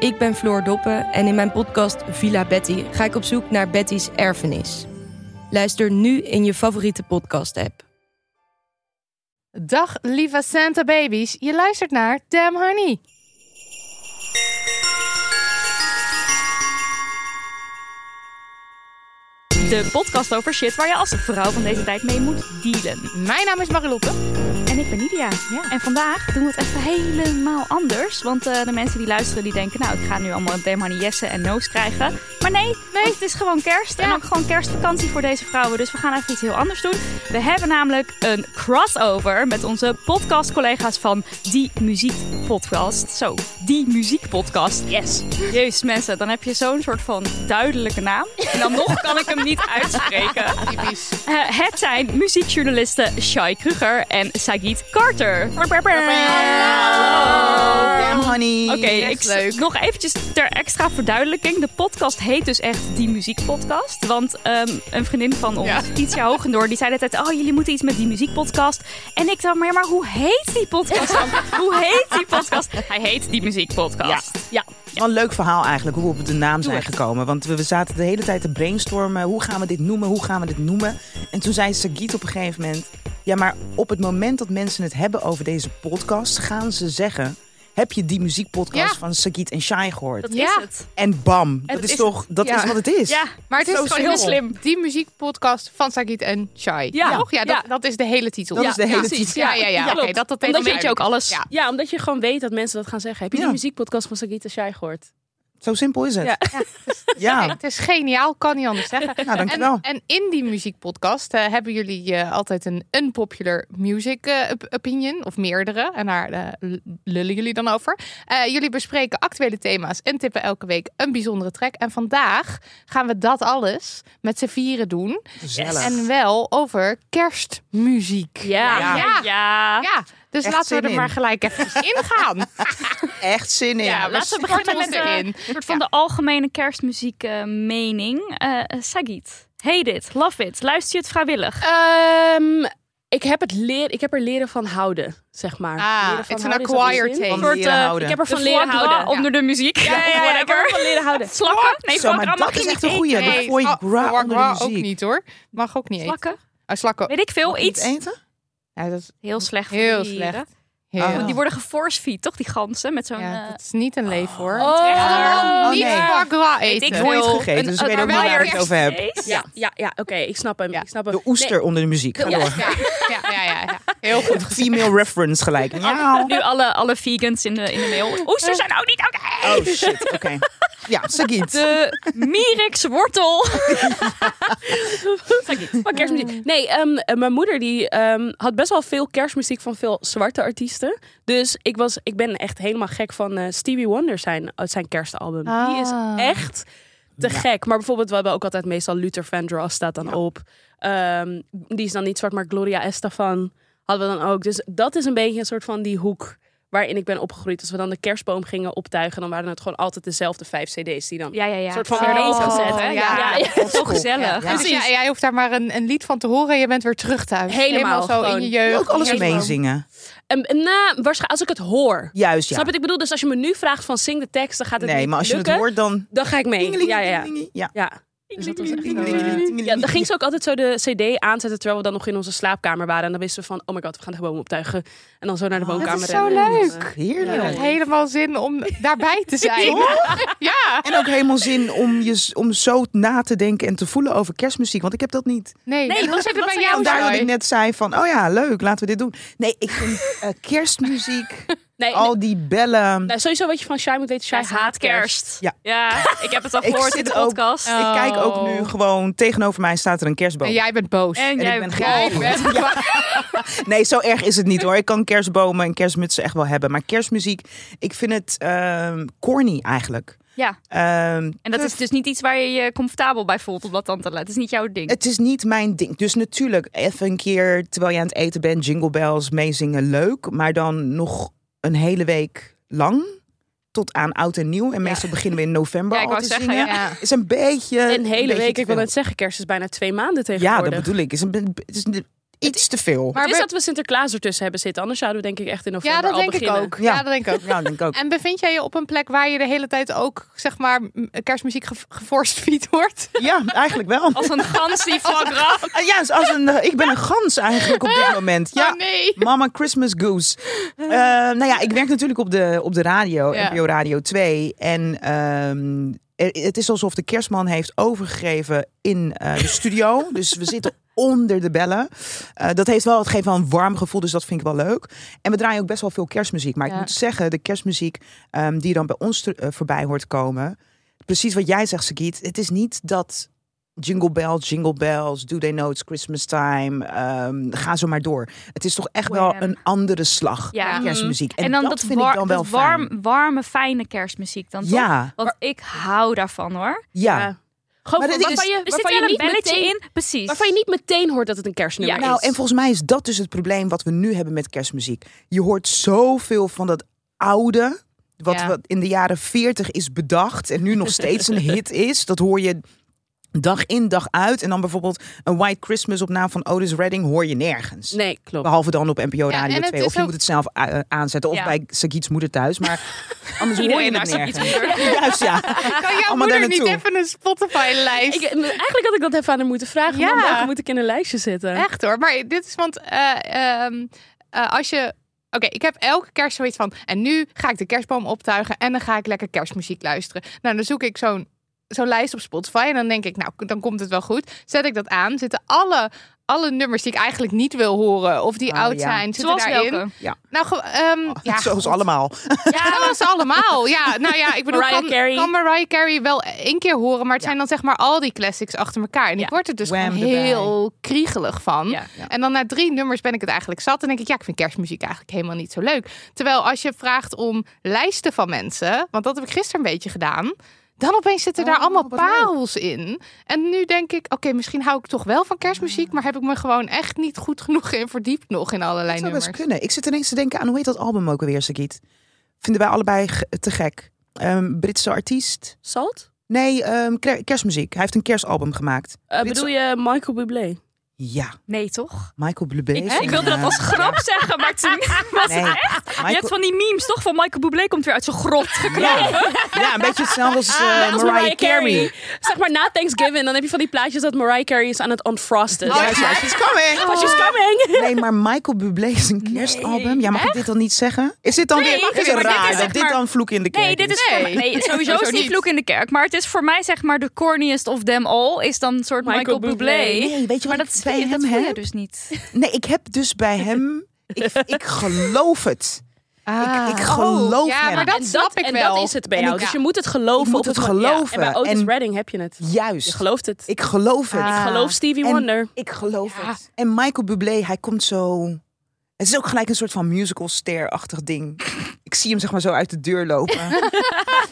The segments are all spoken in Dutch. Ik ben Floor Doppen en in mijn podcast Villa Betty ga ik op zoek naar Betty's erfenis. Luister nu in je favoriete podcast-app. Dag lieve Santa Babies, je luistert naar Damn Honey. De podcast over shit waar je als vrouw van deze tijd mee moet dealen. Mijn naam is Marilotte. En ik ben Lydia. En vandaag doen we het even helemaal anders. Want eh, de mensen die luisteren, die denken... nou, ik ga nu allemaal Demani Jessen en No's krijgen. Maar nee, nee. het is gewoon kerst. En ook gewoon kerstvakantie voor deze vrouwen. Dus we gaan even iets heel anders doen. We hebben namelijk een crossover met onze podcastcollega's van Die Muziek Podcast. Zo, Die Muziek Podcast. Yes. Jezus mensen, dan heb je zo'n soort van duidelijke naam. En dan nog kan ik hem niet uitspreken. Typisch. Eh, het zijn muziekjournalisten Shai Kruger en Sagit Carter. Damn honey. Oké, ik leuk. nog eventjes ter extra verduidelijking. De podcast heet dus echt Die Muziek Podcast. Want ehm, een vriendin van ons, Ja. Ietsja Hoogendoor, die zei de tijd... oh, jullie moeten iets met Die Muziek Podcast. En ik dacht, maar, maar hoe heet die podcast dan? hoe heet die podcast? Hij heet Die Muziek Podcast. Ja. Wel een leuk verhaal eigenlijk, hoe we op de naam zijn het. gekomen. Want we, we zaten de hele tijd te brainstormen. Hoe gaan we dit noemen? Hoe gaan we dit noemen? En toen zei Sagiet op een gegeven moment... Ja, maar op het moment dat mensen het hebben over deze podcast... gaan ze zeggen... Heb je die muziekpodcast Ja. van Sagiet en Shai gehoord? Dat Ja. is het. En bam, dat Het is, is- toch... Dat ja. is wat het is. Ja, Maar het is Zo gewoon heel simpel. slim. Die muziekpodcast van Sagit en Shai. Ja. Toch? Ja, dat, Ja. dat is de hele titel. Dat ja. is de hele precies. titel. Ja, ja, ja. Ja, Oké, klopt. dat, dat Dan heeft weet je ook alles. Ja. Ja, omdat je gewoon weet dat mensen dat gaan zeggen. Heb je Ja. die muziekpodcast van Sagita Shai gehoord? Zo simpel is het. Ja, Ja. Kijk, het is geniaal, kan niet anders zeggen. nou dankjewel. En, en in die muziekpodcast eh, hebben jullie eh, altijd een unpopular music eh, op- opinion, of meerdere. En daar eh, l- lullen jullie dan over. Eh, jullie bespreken actuele thema's en tippen elke week een bijzondere track. En vandaag gaan we dat alles met z'n vieren doen. Gezellig. En wel over kerstmuziek. Ja. Ja. ja. Ja, dus Echt laten we zin er in. maar gelijk even in gaan. Ah. Echt zin in. Ja, laten we storten beginnen ons met de- erin. Een soort van de algemene kerstmuziek eh, mening. Eh, eh, Sagit, hate it, love it. Luister je het vrijwillig? Ehm, ik, heb het leer, ik heb er leren van houden, zeg maar. Ah, leren van it's an houden, is dat dus acquired een zin? taste. Van soort, leren eh, houden. Ik heb er van De leren foie gras houden. onder de muziek. Ja, ja, ja, ik heb er van leren houden. Slakken? Nee, Zo, foie maar gras mag dat je is niet echt een eten. goeie. De foie oh, gras foie onder de gras muziek. ook niet hoor. Mag ook niet eten. Slakken? Ah, slakken. Weet ik veel, Niet iets. eten? Ja, dat is Heel slecht. voor heel die dieren. slecht. Heel. Oh. Want die worden geforcefeed, toch? Die ganzen met zo'n... eh, Ja, Ja, dat is niet een leef hoor. Oh, niet nee. foie gras eten. Ik Nooit wil gegeten, een- dus ik weet een ook niet waar je het acquired over hebt. taste. Ja, ja, ja oké, ik snap hem. Ja. Ik snap hem. De oester onder de muziek. Ga door. Ja, ja, ja, ja, ja. Heel goed. Female reference gelijk. Miauw. Nu alle, alle vegans in de, in de mail. Oesters zijn nou ook niet oké. Oh shit, oké. Ja, Sagiet. De Mirix wortel. Nee, maar kerstmuziek. Nee, ehm, eh, mijn moeder die, ehm, had best wel veel kerstmuziek van veel zwarte artiesten. Dus ik, was, ik ben echt helemaal gek van eh, Stevie Wonder zijn, eh, zijn kerstalbum. Die is Ah. echt te gek. Maar bijvoorbeeld, we hebben ook altijd meestal Luther Vandross staat dan op. Ehm, die is dan niet zwart, maar Gloria Estefan hadden we dan ook. Dus dat is een beetje een soort van die hoek waarin ik ben opgegroeid. Als we dan de kerstboom gingen optuigen, dan waren het gewoon altijd dezelfde vijf cd's die dan... Ja, ja, ja. Een soort van herlees gezet, hè? Ja, Ja. ja. Zo gezellig. Ja. Dus ja, jij hoeft daar maar een, een lied van te horen en je bent weer terug thuis. Helemaal, zo in gewoon. je jeugd. Ook alles Helemaal. meezingen. En, en, nou, waarschijnlijk als ik het hoor, Juist, ja. Snap je wat ik bedoel? Dus als je me nu vraagt van zing de tekst, dan gaat het Nee, niet maar als je het lukken. hoort dan... Dan ga ik mee. Ja, ja, ja. Dingelingelingeling. Ja. ja. Dus dat was echt zo... eh, Ja, dan ging ze ook altijd zo de cd aanzetten terwijl we dan nog in onze slaapkamer waren. En dan wisten we van, oh my god, we gaan de boom optuigen. En dan zo naar de Oh, dat is woonkamer. zo rennen. leuk. Dus, eh, Heerlijk. echt helemaal zin om daarbij te zijn. ja, En ook helemaal zin om, je, s- om zo na te denken en te voelen over kerstmuziek. Want ik heb dat niet. Oh, nee. Nee, hoe wat- zit het wat bij zijn jou, jouw Vandaar dat Joy? ik net zei van, oh ja, leuk, laten we dit doen. Nee, ik vind eh, kerstmuziek, nee, al die bellen. nou, sowieso wat je van Shai moet weten, Shai Zij haat kerst. Ja. ik heb het al Ik gehoord in zit de ook- podcast. Oh. Ik kijk ook nu gewoon, tegenover mij staat er een kerstboom. En jij bent boos. En En jij ik ben Jij gewoon- bent- Nee, zo erg is het niet hoor. Ik kan kerstbomen en kerstmutsen echt wel hebben. Maar kerstmuziek, ik vind het ehm, corny eigenlijk. Ja. Ehm, En dat is dus niet iets waar je je comfortabel bij voelt op dat dan te laten. Het is niet jouw ding. Het is niet mijn ding. Dus natuurlijk, even een keer terwijl je aan het eten bent, jingle bells, meezingen, leuk. Maar dan nog een hele week lang. Tot aan oud en nieuw. En meestal beginnen we in november Ja, ik al wou te zeggen, zingen. ja. Is een beetje... Een beetje hele week, te ik wil veel. net zeggen, kerst is bijna twee maanden Ja, tegenwoordig. dat bedoel ik. Is een, be- het is een- iets te veel. Maar het is we- dat we Sinterklaas ertussen hebben zitten. Anders zouden we denk ik echt in november Ja, dat al denk ik beginnen. ook. Ja, Ja. dat denk ik ook. Ja, denk ik ook. En bevind jij je op een plek waar je de hele tijd ook, zeg maar, m- kerstmuziek ge geforst fiet wordt? Ja, eigenlijk wel. Als een gans die vlak Ah, Ja, als een, eh, ik ben een gans eigenlijk op dit moment. Ja. Oh, nee. Mama Christmas Goose. Eh, nou ja, ik werk natuurlijk op de, op de radio, Ja. NPO Radio 2. En ehm, er- het is alsof de kerstman heeft overgegeven in eh, de studio. dus we zitten onder de bellen. Eh, dat heeft wel, het geeft wel een warm gevoel, dus dat vind ik wel leuk. En we draaien ook best wel veel kerstmuziek. Maar Ja. ik moet zeggen, de kerstmuziek ehm, die dan bij ons ter- eh, voorbij hoort komen... Precies wat jij zegt, Sagiet. Het is niet dat Jingle bells, jingle bells, do they know it's Christmas time. ehm, ga zo maar door. Het is toch echt wel Wham. een andere slag. Ja. aan kerstmuziek. En, En dan dat, dat, vind war- ik dan wel dat warm, fijn. warme, fijne kerstmuziek dan toch? Ja, Want ik hou daarvan hoor. ja. Ja. Gewoon Maar van- dat is- waarvan je, Er zit waarvan je wel een niet belletje meteen, in. Precies. Waarvan je niet meteen hoort dat het een kerstnummer Ja, is. Nou, en volgens mij is dat dus het probleem wat we nu hebben met kerstmuziek. Je hoort zoveel van dat oude, wat, Ja. wat in de jaren 40 is bedacht en nu nog steeds een hit is. Dat hoor je dag in, dag uit. En dan bijvoorbeeld een White Christmas op naam van Otis Redding hoor je nergens. Nee, klopt. Behalve dan op NPO Ja, Radio en het 2. is Of je ook- moet het zelf a- aanzetten. Of Ja. bij Sagiet's moeder thuis. Maar anders hoor je Iedereen het naar zijn iets nergens. moeder. Juist, ja. Kan jouw Allemaal moeder daar niet naartoe. even een Spotify-lijst? Ik, eigenlijk had ik dat even aan haar moeten vragen. Ja. Ja. Welke moet ik in een lijstje zetten? Echt hoor. Maar dit is, want eh, ehm, eh, als je... Oké, ik heb elke kerst zoiets van... En nu ga ik de kerstboom optuigen en dan ga ik lekker kerstmuziek luisteren. Nou, dan zoek ik zo'n zo'n lijst op Spotify en dan denk ik, nou, dan komt het wel goed. Zet ik dat aan, zitten alle, alle nummers die ik eigenlijk niet wil horen... of die Oh, oud ja. zijn, zitten Zoals daarin. welke? Nou, ge- ehm, ja, Oh, Zoals allemaal. Ja, dat was allemaal. Ja, nou ja, ik bedoel, Mariah kan, Carey. kan Mariah Carey wel één keer horen, maar het Ja. zijn dan zeg maar al die classics achter elkaar. En Ja. ik word er dus Wham gewoon erbij. heel kriegelig van. Ja. Ja. En dan na drie nummers ben ik het eigenlijk zat. En denk ik, ja, ik vind kerstmuziek eigenlijk helemaal niet zo leuk. Terwijl als je vraagt om lijsten van mensen, want dat heb ik gisteren een beetje gedaan. Dan opeens zitten daar Oh, allemaal wat leuk. parels in. En nu denk ik, oké, misschien hou ik toch wel van kerstmuziek. Maar heb ik me gewoon echt niet goed genoeg in verdiept nog in allerlei Dat zou nummers. best kunnen. Ik zit ineens te denken aan, hoe heet dat album ook alweer, Sagiet? Vinden wij allebei ge- te gek. Ehm, Britse artiest? Salt? Nee, ehm, kre- kerstmuziek. Hij heeft een kerstalbum gemaakt. Eh, Dit bedoel is- je Michael Bublé? Ja, Nee, toch? Michael Bublé. Ik, is ik een, wilde dat eh, als grap zeggen, maar toen was Nee, het echt. Je hebt Michael, van die memes toch van Michael Bublé komt weer uit zo'n grot gekropen. ja, een beetje hetzelfde als, eh, Ah, Net als Mariah, Carey. Zeg maar na Thanksgiving, dan heb je van die plaatjes dat Mariah Carey is aan het unfrosten. Oh, Oh, Ja, ja, she's coming. But she's coming! Nee, maar Michael Bublé is een kerstalbum. ja, mag ik dit dan niet zeggen? Is dit dan Nee, weer mag is je niet, het maar dit raar is dat echt dit maar- dan vloek in de kerk Nee, dit is voor Nee. mij. Nee, sowieso Sowieso is niet niet. vloek in de kerk. Maar het is voor mij zeg maar de corniest of them all. Is dan een soort Michael, Michael Bublé. Bublé. Nee, weet je Maar dat, wat ik is bij dat hem voel je heb? dus niet. Nee, ik heb dus bij hem... Ik, ik geloof het. Ah. Ik geloof ja, hem. maar dat en snap dat, ik en wel. dat is het bij En jou. ik- Dus ja. je moet het geloven. Je moet op het moment. Ja, geloven. En bij Otis En- Redding heb je het. Je Juist. gelooft het. Ik Ik geloof het. Ah. geloof Stevie En- Wonder. Ik geloof Ja. het. En Michael Bublé, hij komt zo... Het is ook gelijk een soort van musicalster-achtig ding. Ik zie hem zeg maar zo uit de deur lopen. Als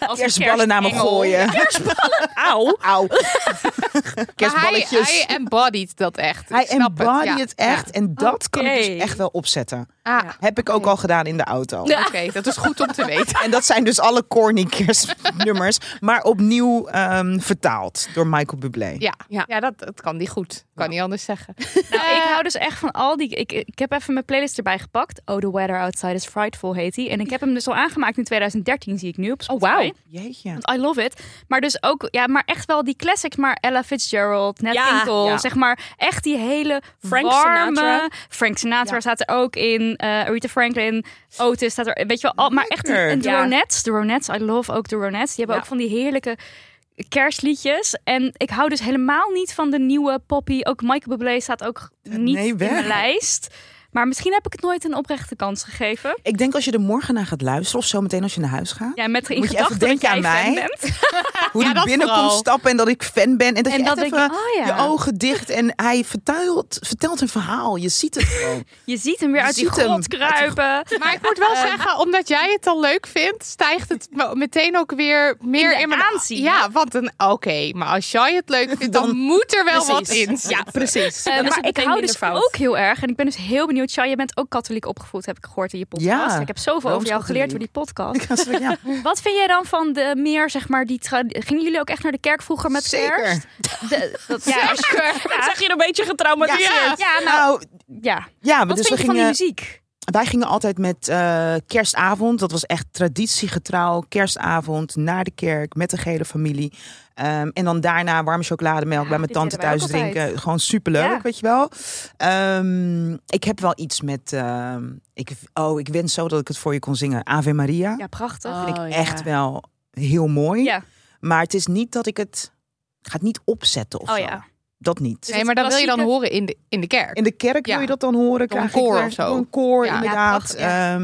een Kerstballen naar me kerstengel. gooien. Ah. Auw. Auw. Maar hij, Kerstballetjes. hij embodied dat echt. Ik Hij snap het, embodied ja. het echt. En dat kan ik Oké. dus echt wel opzetten. Ja. Ah, Ja. Heb ik ook al gedaan in de auto. oké. Dat is goed om te weten. En dat zijn dus alle corny kerstnummers, maar opnieuw ehm, vertaald door Michael Bublé. Ja, ja. Ja. dat, dat kan die goed. Kan niet anders zeggen. Nou, ik hou dus echt van al die... Ik, ik heb even mijn playlist erbij gepakt. Oh, The Weather Outside is Frightful heet die. En ik heb hem dus al aangemaakt in 2013, zie ik nu op Spotify. wauw. Jeetje. Want I love it. Maar dus ook, ja, maar echt wel die classics. Maar Ella Fitzgerald, Nat Ja, King Cole, ja. zeg maar. Echt die hele Frank warme... Sinatra. Frank Sinatra staat er ook in. eh Aretha Franklin, Otis staat er, weet je wel. Al, maar echt een, een de Ja. Ronettes. De Ronettes, I love ook de Ronettes. Die hebben Ja. ook van die heerlijke kerstliedjes. En ik hou dus helemaal niet van de nieuwe poppy. Ook Michael Bublé staat ook niet nee, in weg. mijn lijst. Maar misschien heb ik het nooit een oprechte kans gegeven. Ik denk als je er morgen naar gaat luisteren of zometeen als je naar huis gaat. Ja, met in Moet je even gedachten dat denken jij aan fan mij? bent. Hoe Ja, die dat binnenkomt vooral. stappen en dat ik fan ben. En dat En je dan echt denk even je, oh ja. je ogen dicht en hij vertelt, vertelt een verhaal. Je ziet het gewoon. Je ziet hem weer Je uit die ziet hem. grot kruipen. Maar ik moet wel zeggen, omdat jij het al leuk vindt, stijgt het me- meteen ook weer meer de in, mijn aanzien. Ja, want een oké, maar als jij het leuk vindt, dan, Dan- moet er wel wat Precies. in. Ehm, Ja, precies. Eh, Dan is maar het ik meteen hou minder dus fout. ook heel erg. En ik ben dus heel benieuwd. Shai, je bent ook katholiek opgevoed, heb ik gehoord in je podcast. Ja, ik heb zoveel over jou geleerd door die Rooms-katholiek. podcast. Ja, zo- ja. Wat vind jij dan van de meer, zeg maar, die... tra- Gingen jullie ook echt naar de kerk vroeger met Zeker. kerst? De, dat, ja, als je- Ik zag je een beetje getraumatiseerd. Ja. ja, nou, Nou, ja. ja, Wat dus vind we je van die gingen, muziek? wij gingen altijd met eh, kerstavond. Dat was echt traditiegetrouw. Kerstavond naar de kerk met de gele familie. Ehm, en dan daarna warme chocolademelk Ja, bij mijn dit tante deden Ah, wij thuis ook drinken. altijd. Gewoon superleuk, Ja. weet je wel. Ehm, ik heb wel iets met... ehm, ik, oh, ik wens zo dat ik het voor je kon zingen. Ave Maria. Ja, prachtig. Oh, ja. echt wel heel mooi. Ja. Maar het is niet dat ik het... Ik ga het niet opzetten of Oh zo. ja. Dat niet. Nee, maar dat wil je dan klassieke- horen in de, in de kerk. In de kerk Ja. wil je dat dan horen? Door een krijg ik koor daar- of zo. door Een koor, Ja. inderdaad. Ja, Ehm, prachtig, Ja,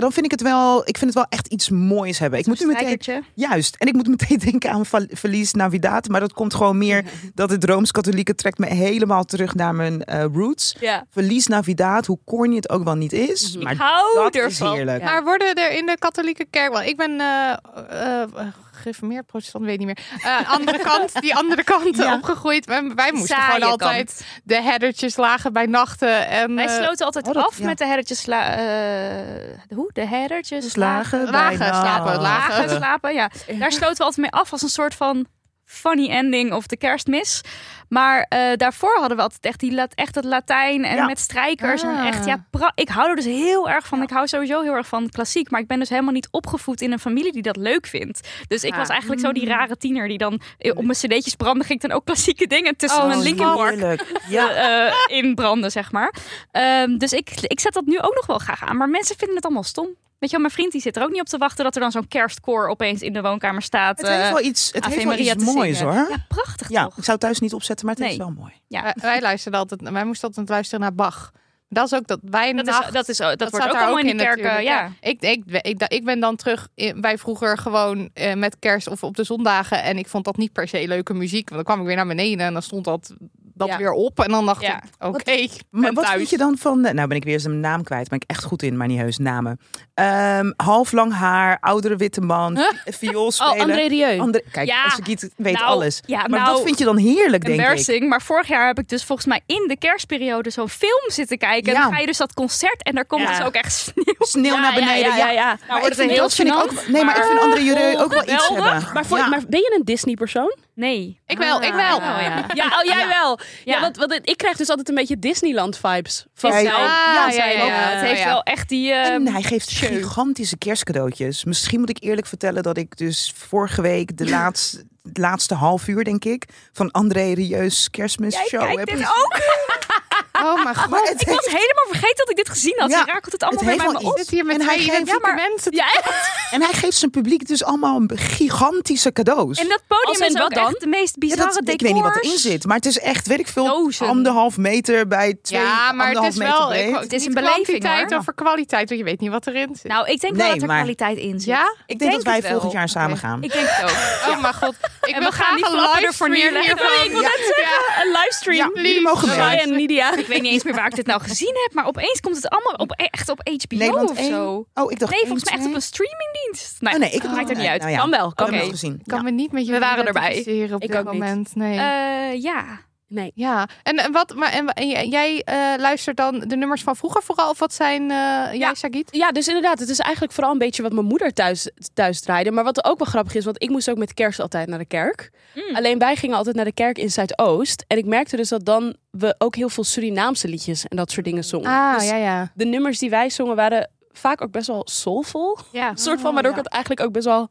dan vind ik het wel... Ik vind het wel echt iets moois hebben. Ik moet nu meteen... Strijkertje. Juist. En ik moet meteen denken aan Val- Verlies Navidad. Maar dat komt gewoon meer... Dat het Rooms-Katholieke trekt me helemaal terug naar mijn eh, roots. Ja. Verlies Navidad, hoe corny het ook wel niet is. Mhm. Maar Hou Ah, dat is ervan. heerlijk. Ja. Maar worden er in de katholieke kerk, want ik ben eh, eh, eh, gereformeerd, protestant, weet niet meer. Eh, andere kant, die andere kant Ja. opgegroeid. Wij, wij moesten Saaie gewoon altijd kant. de herdertjes lagen bij nachten. En, Wij eh, sloten altijd oh, dat- af ja. met de herretjes... sla- eh, hoe? De herretjes... Slagen, Lagen, bijna. slapen, lagen. Lagen slapen, ja. Daar sloten we altijd mee af als een soort van funny ending of de kerstmis. Maar eh, daarvoor hadden we altijd echt, die lat, echt dat Latijn en Ja. met strijkers. En Ah. echt, ja, pra- ik hou er dus heel erg van. Ik hou sowieso heel erg van klassiek. Maar ik ben dus helemaal niet opgevoed in een familie die dat leuk vindt. Dus ik Ah. was eigenlijk zo Mm. die rare tiener die dan eh, op mijn cd'tjes brandde. Ging ik dan ook klassieke dingen tussen Oh, mijn Linkin Park Heerlijk. Ja. eh, in branden, zeg maar. Ehm, dus ik, ik zet dat nu ook nog wel graag aan. Maar mensen vinden het allemaal stom. Weet je wel, mijn vriend die zit er ook niet op te wachten dat er dan zo'n kerstkoor opeens in de woonkamer staat. Het heeft Eh, wel iets, het Ave heeft wel Maria iets te moois zingen. hoor. ja, prachtig Ja, toch? ik zou het thuis niet opzetten, maar het is Nee. wel mooi. Wij, wij luisterden altijd, wij moesten altijd luisteren naar Bach. Dat is ook dat wij Dat, is, dat, is, dat, wordt staat ook daar allemaal in de kerken. natuurlijk, ja. Ik, ik, ik, ik ben dan terug in, bij vroeger gewoon eh, met kerst of op de zondagen. En ik vond dat niet per se leuke muziek. Want dan kwam ik weer naar beneden en dan stond dat, dat Ja. weer op. En dan dacht Ja. ik, oké, ik ben Maar wat thuis. vind je dan van... de- Nou ben ik weer eens een naam kwijt. Ben ik echt goed in, maar niet heus namen. Ehm, half lang haar, oudere witte man, viool spelen. Oh, André Rieu. André- Kijk, Ja. als ik iets weet Nou, alles. ja, maar nou, dat vind je dan heerlijk, denk ik. Embarrassing, maar vorig jaar heb ik dus volgens mij in de kerstperiode zo'n film zitten kijken. En Ja. dan ga je dus dat concert en daar komt Ja. dus ook echt sneeuw. Sneeuw naar beneden. Ja, Ja, ja, ja. Maar Nou, wordt ik vind, het heel dat vind ik gênant, ook... Nee, maar ik maar- vind André Rieu ook wel iets Geweldig, hebben. Maar, voor, Ja. maar ben je een Disney-persoon? Nee. Ik wel, ik wel. Oh, ja. Ja, oh, jij wel. Ja, Ja. want, want ik krijg dus altijd een beetje Disneyland-vibes. Van Jij jou. ook. ja, Ah, ja, ja, ja. Het heeft ja. wel echt die... eh, En hij geeft gigantische kerstcadeautjes. Misschien moet ik eerlijk vertellen dat ik dus vorige week de laatste, het laatste half uur, denk ik, van André Rieu's Jij kerstmisshow heb. kijkt dit ik- ook? Oh mijn god. Maar het Ik was helemaal vergeten dat ik dit gezien had. Ja, Je rakelt het allemaal het weer bij heeft me wel op. iets. Zit hier met En hij twee geeft- identieke Ja, mensen. Ja, En hij geeft zijn publiek dus allemaal gigantische cadeaus. En dat podium Als in is wat ook dan? echt de meest Ja, bizarre dat- ik weet niet wat erin decors. zit, maar het is echt, weet ik veel, Dozen. anderhalf meter bij twee, Ja, maar het anderhalf is wel... meter ik- breed. Het is niet een beleving, kwantiteit hoor. over kwaliteit, want je weet niet wat erin zit. Nou, ik denk wel Nee, dat er maar- kwaliteit in zit. Ja? Ik denk dat wij het wel. volgend jaar samen gaan. Ik denk het ook. Oh mijn god. Ik En wil we gaan graag die een flappen live ervoor neerleggen. hiervan. Nee, ik wil Ja. een livestream. Ja, jullie mogen Shai mee. en Nidia. Ik weet niet eens meer waar ik dit nou gezien heb, maar opeens komt het allemaal op, e- echt op HBO Nederland of één. zo. Oh, ik dacht Nee, volgens mij echt één, op een streamingdienst. Nee, twee. Oh nee, ik heb maakt er niet uit. Nou ja, Kan wel, ik heb kan hem Oké. nog gezien. Ik kan Ja. me niet met je We waren erbij. identificeren op Ik dit ook niet. moment. Nee. Eh, ja. Nee. Ja, en, en wat, maar en, en j- jij eh, luistert dan de nummers van vroeger vooral? Of wat zijn eh, jij, Sagit? Ja, dus inderdaad, het is eigenlijk vooral een beetje wat mijn moeder thuis, thuis draaide. Maar wat ook wel grappig is, want ik moest ook met kerst altijd naar de kerk. Alleen wij gingen altijd naar de kerk in Zuidoost. En ik merkte dus dat dan we ook heel veel Surinaamse liedjes en dat soort dingen zongen. Ah, Dus ja, ja. de nummers die wij zongen waren vaak ook best wel soulful. Ja. Een soort van, waardoor Oh, ik het eigenlijk ook best wel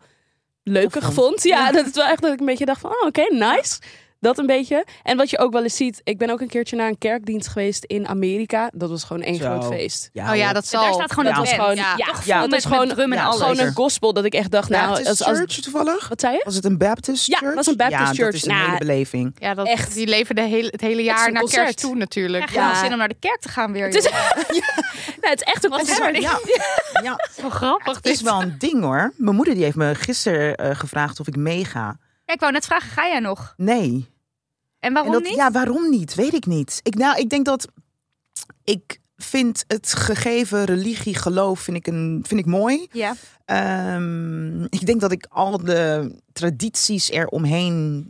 leukig vond. Ja, dat het wel echt dat ik een beetje dacht van, oh, oké, nice. Dat een beetje. En wat je ook wel eens ziet, ik ben ook een keertje naar een kerkdienst geweest in Amerika. Dat was gewoon één Zo. groot feest. oh ja, hoor. dat En zal. daar staat gewoon Dat een was band. gewoon, ja. ja, Ja. dat Met- is gewoon, met drum en ja, alles. gewoon zeker. een gospel dat ik echt dacht, Ja, nou, het als, is als, church toevallig? wat zei je? Was het een Baptist Ja, church? was een Baptist ja, church. dat is een Nou, hele beleving. Ja, dat, Echt. die leven de hele, het hele Het is jaar een naar kerst concert. toe Ja, natuurlijk. gewoon Ja. zin om naar de kerk te gaan weer. Het is, joh. nou, het is echt een Wat concert. hebben we Ja, ja. Zo grappig. Het is wel een ding hoor. Mijn moeder die heeft me gisteren eh, gevraagd of ik meega. Ja, ik wou net vragen, ga jij nog? Nee. En waarom en dat, niet? Ja, waarom niet? Weet ik niet. Ik, nou, ik denk dat ik vind het gegeven religie, geloof, vind ik, een, vind ik mooi. Ja. Ehm, ik denk dat ik al de tradities eromheen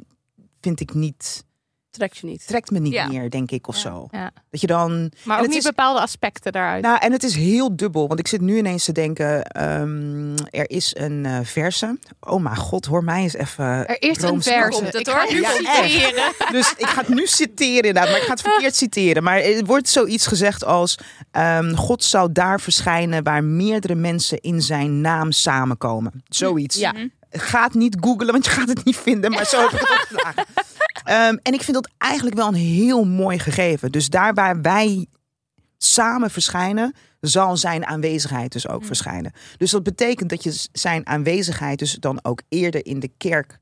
vind ik niet, Trekt je niet. trekt me niet Ja. meer, denk ik, of zo. ja. Dat je dan Maar En ook het niet is- bepaalde aspecten daaruit. Nou, en het is heel dubbel, want ik zit nu ineens te denken: ehm, er is een eh, verse. Oh, mijn god, hoor mij eens even. er is een Rooms- vers. komt het, Ik hoor. ga het nu Ja, echt. citeren. Dus ik ga het nu citeren, inderdaad, maar ik ga het verkeerd citeren. Maar er wordt zoiets gezegd als: ehm, God zou daar verschijnen waar meerdere mensen in zijn naam samenkomen. Zoiets. Ja. Ga het niet googlen, want je gaat het niet vinden. Maar zo heb ik het opgeslagen. Ehm, en ik vind dat eigenlijk wel een heel mooi gegeven. Dus daar waar wij samen verschijnen, zal zijn aanwezigheid dus Hm. ook verschijnen. Dus dat betekent dat je s- zijn aanwezigheid dus dan ook eerder in de kerk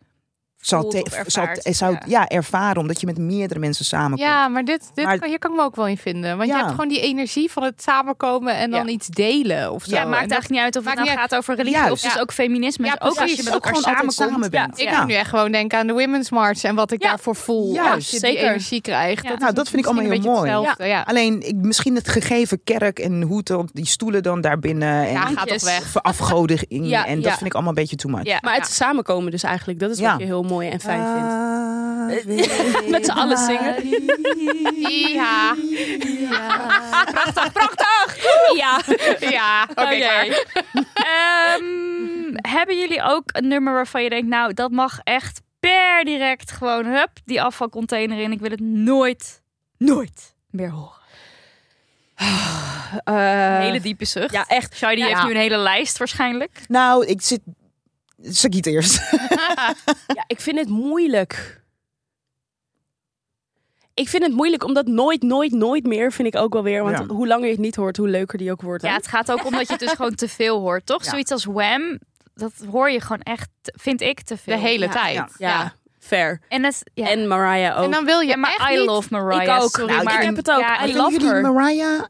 zal, Voelt te- of ervaart, zal eh, zou, ja. ja. ervaren, omdat je met meerdere mensen samenkomt. Ja, maar, dit, dit Maar- kan- hier kan ik me ook wel in vinden. Want Ja. je hebt gewoon die energie van het samenkomen en dan Ja. iets delen of zo. Ja, het maakt En eigenlijk niet uit of het maakt nou niet uit. gaat over religie of Juist. dus Ja. ook feminisme. Ja, Dus ook als je precies. met Ook elkaar gewoon altijd samenkomt. samen bent. Ik Ja. moet nu echt gewoon denken aan de Women's March en wat ik Ja. daarvoor voel. Ja, Als je die zeker. energie krijgt. Ja. Dat Nou, is dat vind ik allemaal misschien heel een beetje mooi. hetzelfde, Ja. Alleen ik, misschien het gegeven kerk en hoe het op die stoelen dan daarbinnen en Ja, gaat toch Handjes. weg. verafgodiging. Ja, en dat ja. vind ik allemaal een beetje too much. Ja. Maar het samenkomen dus eigenlijk, dat is Ja. wat je heel mooi en fijn Ah, vindt. vindt. Met z'n allen zingen. Ja, Ja. Oh, ja. Oké, klaar. Ehm, hebben jullie ook een nummer waarvan je denkt, nou, dat mag echt per direct gewoon, hup, die afvalcontainer in. Ik wil het nooit, nooit meer horen. Eh, Een hele diepe zucht. Ja, echt. Shiny Ja. heeft nu een hele lijst waarschijnlijk. Nou, ik zit. Sagiet eerst. Ja, ik vind het moeilijk. Ik vind het moeilijk, omdat nooit, nooit, nooit meer vind ik ook wel weer. Want Ja. hoe langer je het niet hoort, hoe leuker die ook wordt. hè? Ja, het gaat ook om dat je het dus gewoon te veel hoort, toch? Ja. Zoiets als Wham, dat hoor je gewoon echt, vind ik, te veel. De hele Ja. tijd. Ja. Ja, ja. fair. En, het, ja. En Mariah ook. En dan wil je Ja, maar echt I niet- love Mariah. Ik ook. sorry, Nou, ik maar heb het ook. Ja, I I love Vinden jullie her. Mariah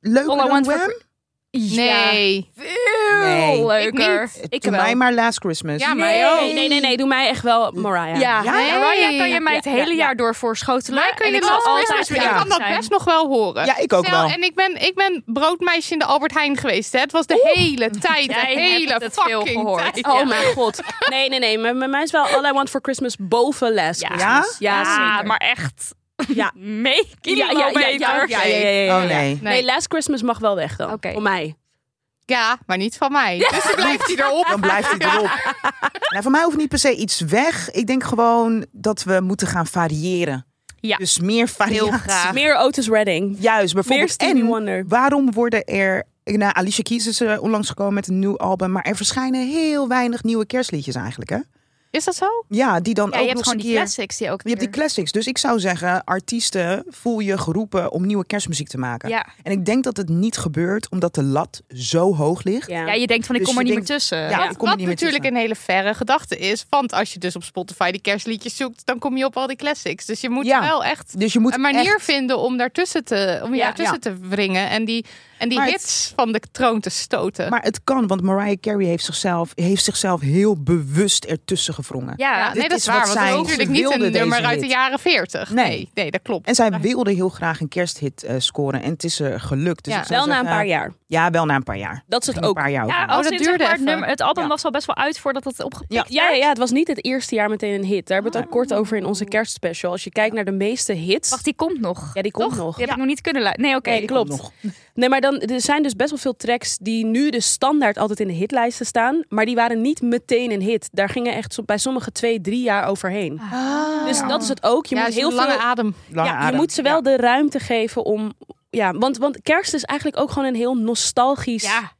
leuk All I dan want for- Wham? Nee. veel Nee. Ik leuker. Ik Doe mij maar Last Christmas. Ja, maar nee, oh, joh. nee, nee, nee, nee, doe mij echt wel Mariah. Ja, Ja, nee. ja. Mariah kan je mij het Ja, hele ja, jaar door voorschotelen. Maar kun en je ik zal last altijd Christmas weer Ik ja. kan dat best nog wel horen. Ja, ik ook Stel, wel. En ik ben, ik ben broodmeisje in de Albert Heijn geweest. Hè. Het was de hele tijd, de Jij hebt hele het veel fucking gehoord. tijd. Oh mijn god. Nee, nee, nee. Met, met mij is wel All I Want For Christmas boven les. Ja. Ja? Ja, Ja, zeker. maar echt. Ja. Mee ja, ja, ja, ja, ja, ja, ja, ja. Oh nee. Nee, Last Christmas mag wel weg dan. Oké. Voor mij. Ja, maar niet van mij. Dus dan blijft hij erop. Dan blijft hij erop. Nou, voor mij hoeft niet per se iets weg. Ik denk gewoon dat we moeten gaan variëren. Ja. Dus meer Heel variatie. graag. Meer Otis Redding. Juist, Meer bijvoorbeeld. Stevie en Wonder. waarom worden er... Nou, Alicia Keys is eh, onlangs gekomen met een nieuw album. Maar er verschijnen heel weinig nieuwe kerstliedjes eigenlijk, hè? Is dat zo? Ja, die dan Ja, ook je hebt gewoon nog eens die een keer... classics die ook Je hebt die weer- classics. Dus ik zou zeggen, artiesten voel je geroepen om nieuwe kerstmuziek te maken. Ja. En ik denk dat het niet gebeurt omdat de lat zo hoog ligt. Ja. Ja, je denkt van ik Dus kom er je niet denkt- meer tussen. Ja, Wat- ik kom er wat niet meer natuurlijk tussen. een hele verre gedachte is. Want als je dus op Spotify die kerstliedjes zoekt, dan kom je op al die classics. Dus je moet Ja. wel echt Dus je moet een manier echt- vinden om daartussen te, om je Ja. daartussen te wringen. En die, En die Maar het- hits van de troon te stoten. Maar het kan, want Mariah Carey heeft zichzelf, heeft zichzelf heel bewust ertussen gevrongen. ja, Ja, dus dit nee, dat is is waar. wat Want het zij- is ze natuurlijk niet wilde een deze nummer uit de hit. jaren 40. Nee, nee, Nee. dat klopt. En zij wilde heel graag een kersthit eh, scoren. En het is er gelukt. Dus Ja, ik zou Wel na een zeggen, paar jaar. Ja, wel na een paar jaar. Dat is het Een ook. paar jaar. Ja, ook Oh, nog. als dat in, zeg duurde maar, even. het, nummer, het album Ja. was al best wel uit voordat het opgepikt Ja. werd. Ja, ja, ja, het was niet het eerste jaar meteen een hit. Daar hebben we het ook kort over in onze kerstspecial. Als je kijkt naar de meeste hits. Wacht, die komt nog. ja, die komt Toch? nog. Die heb ik nog niet kunnen luisteren. Nee, oké. Nee, klopt. nog. Nee, maar dan, er zijn dus best wel veel tracks die nu de standaard altijd in de hitlijsten staan. Maar die waren niet meteen een hit. Daar gingen echt zo- bij sommige twee, drie jaar overheen. Ah. Dus dat is het ook. Je ja, moet zo'n heel veel. lange adem. Lange ja, je adem. moet ze wel de ruimte geven om. Ja, want, want kerst is eigenlijk ook gewoon een heel nostalgisch Ja,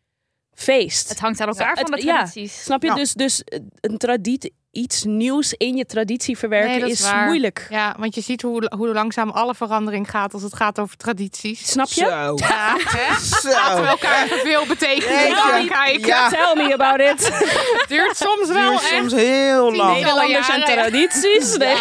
feest. het hangt aan elkaar Het- van de ja. tradities. Snap je? Ja. Dus, dus een traditie, iets nieuws in je traditie verwerken Nee, dat is is, waar. moeilijk. Ja, want je ziet hoe, hoe langzaam alle verandering gaat als het gaat over tradities. Snap je? Zo. Ja, hè? Laten we Zo. elkaar even veel betekenen. Jeetje. Ja, kijken. Ja. Tell me about it. Het duurt soms wel Duurt echt. soms heel Tien lang. jaar. Nederlanders en jaren. tradities. Nee.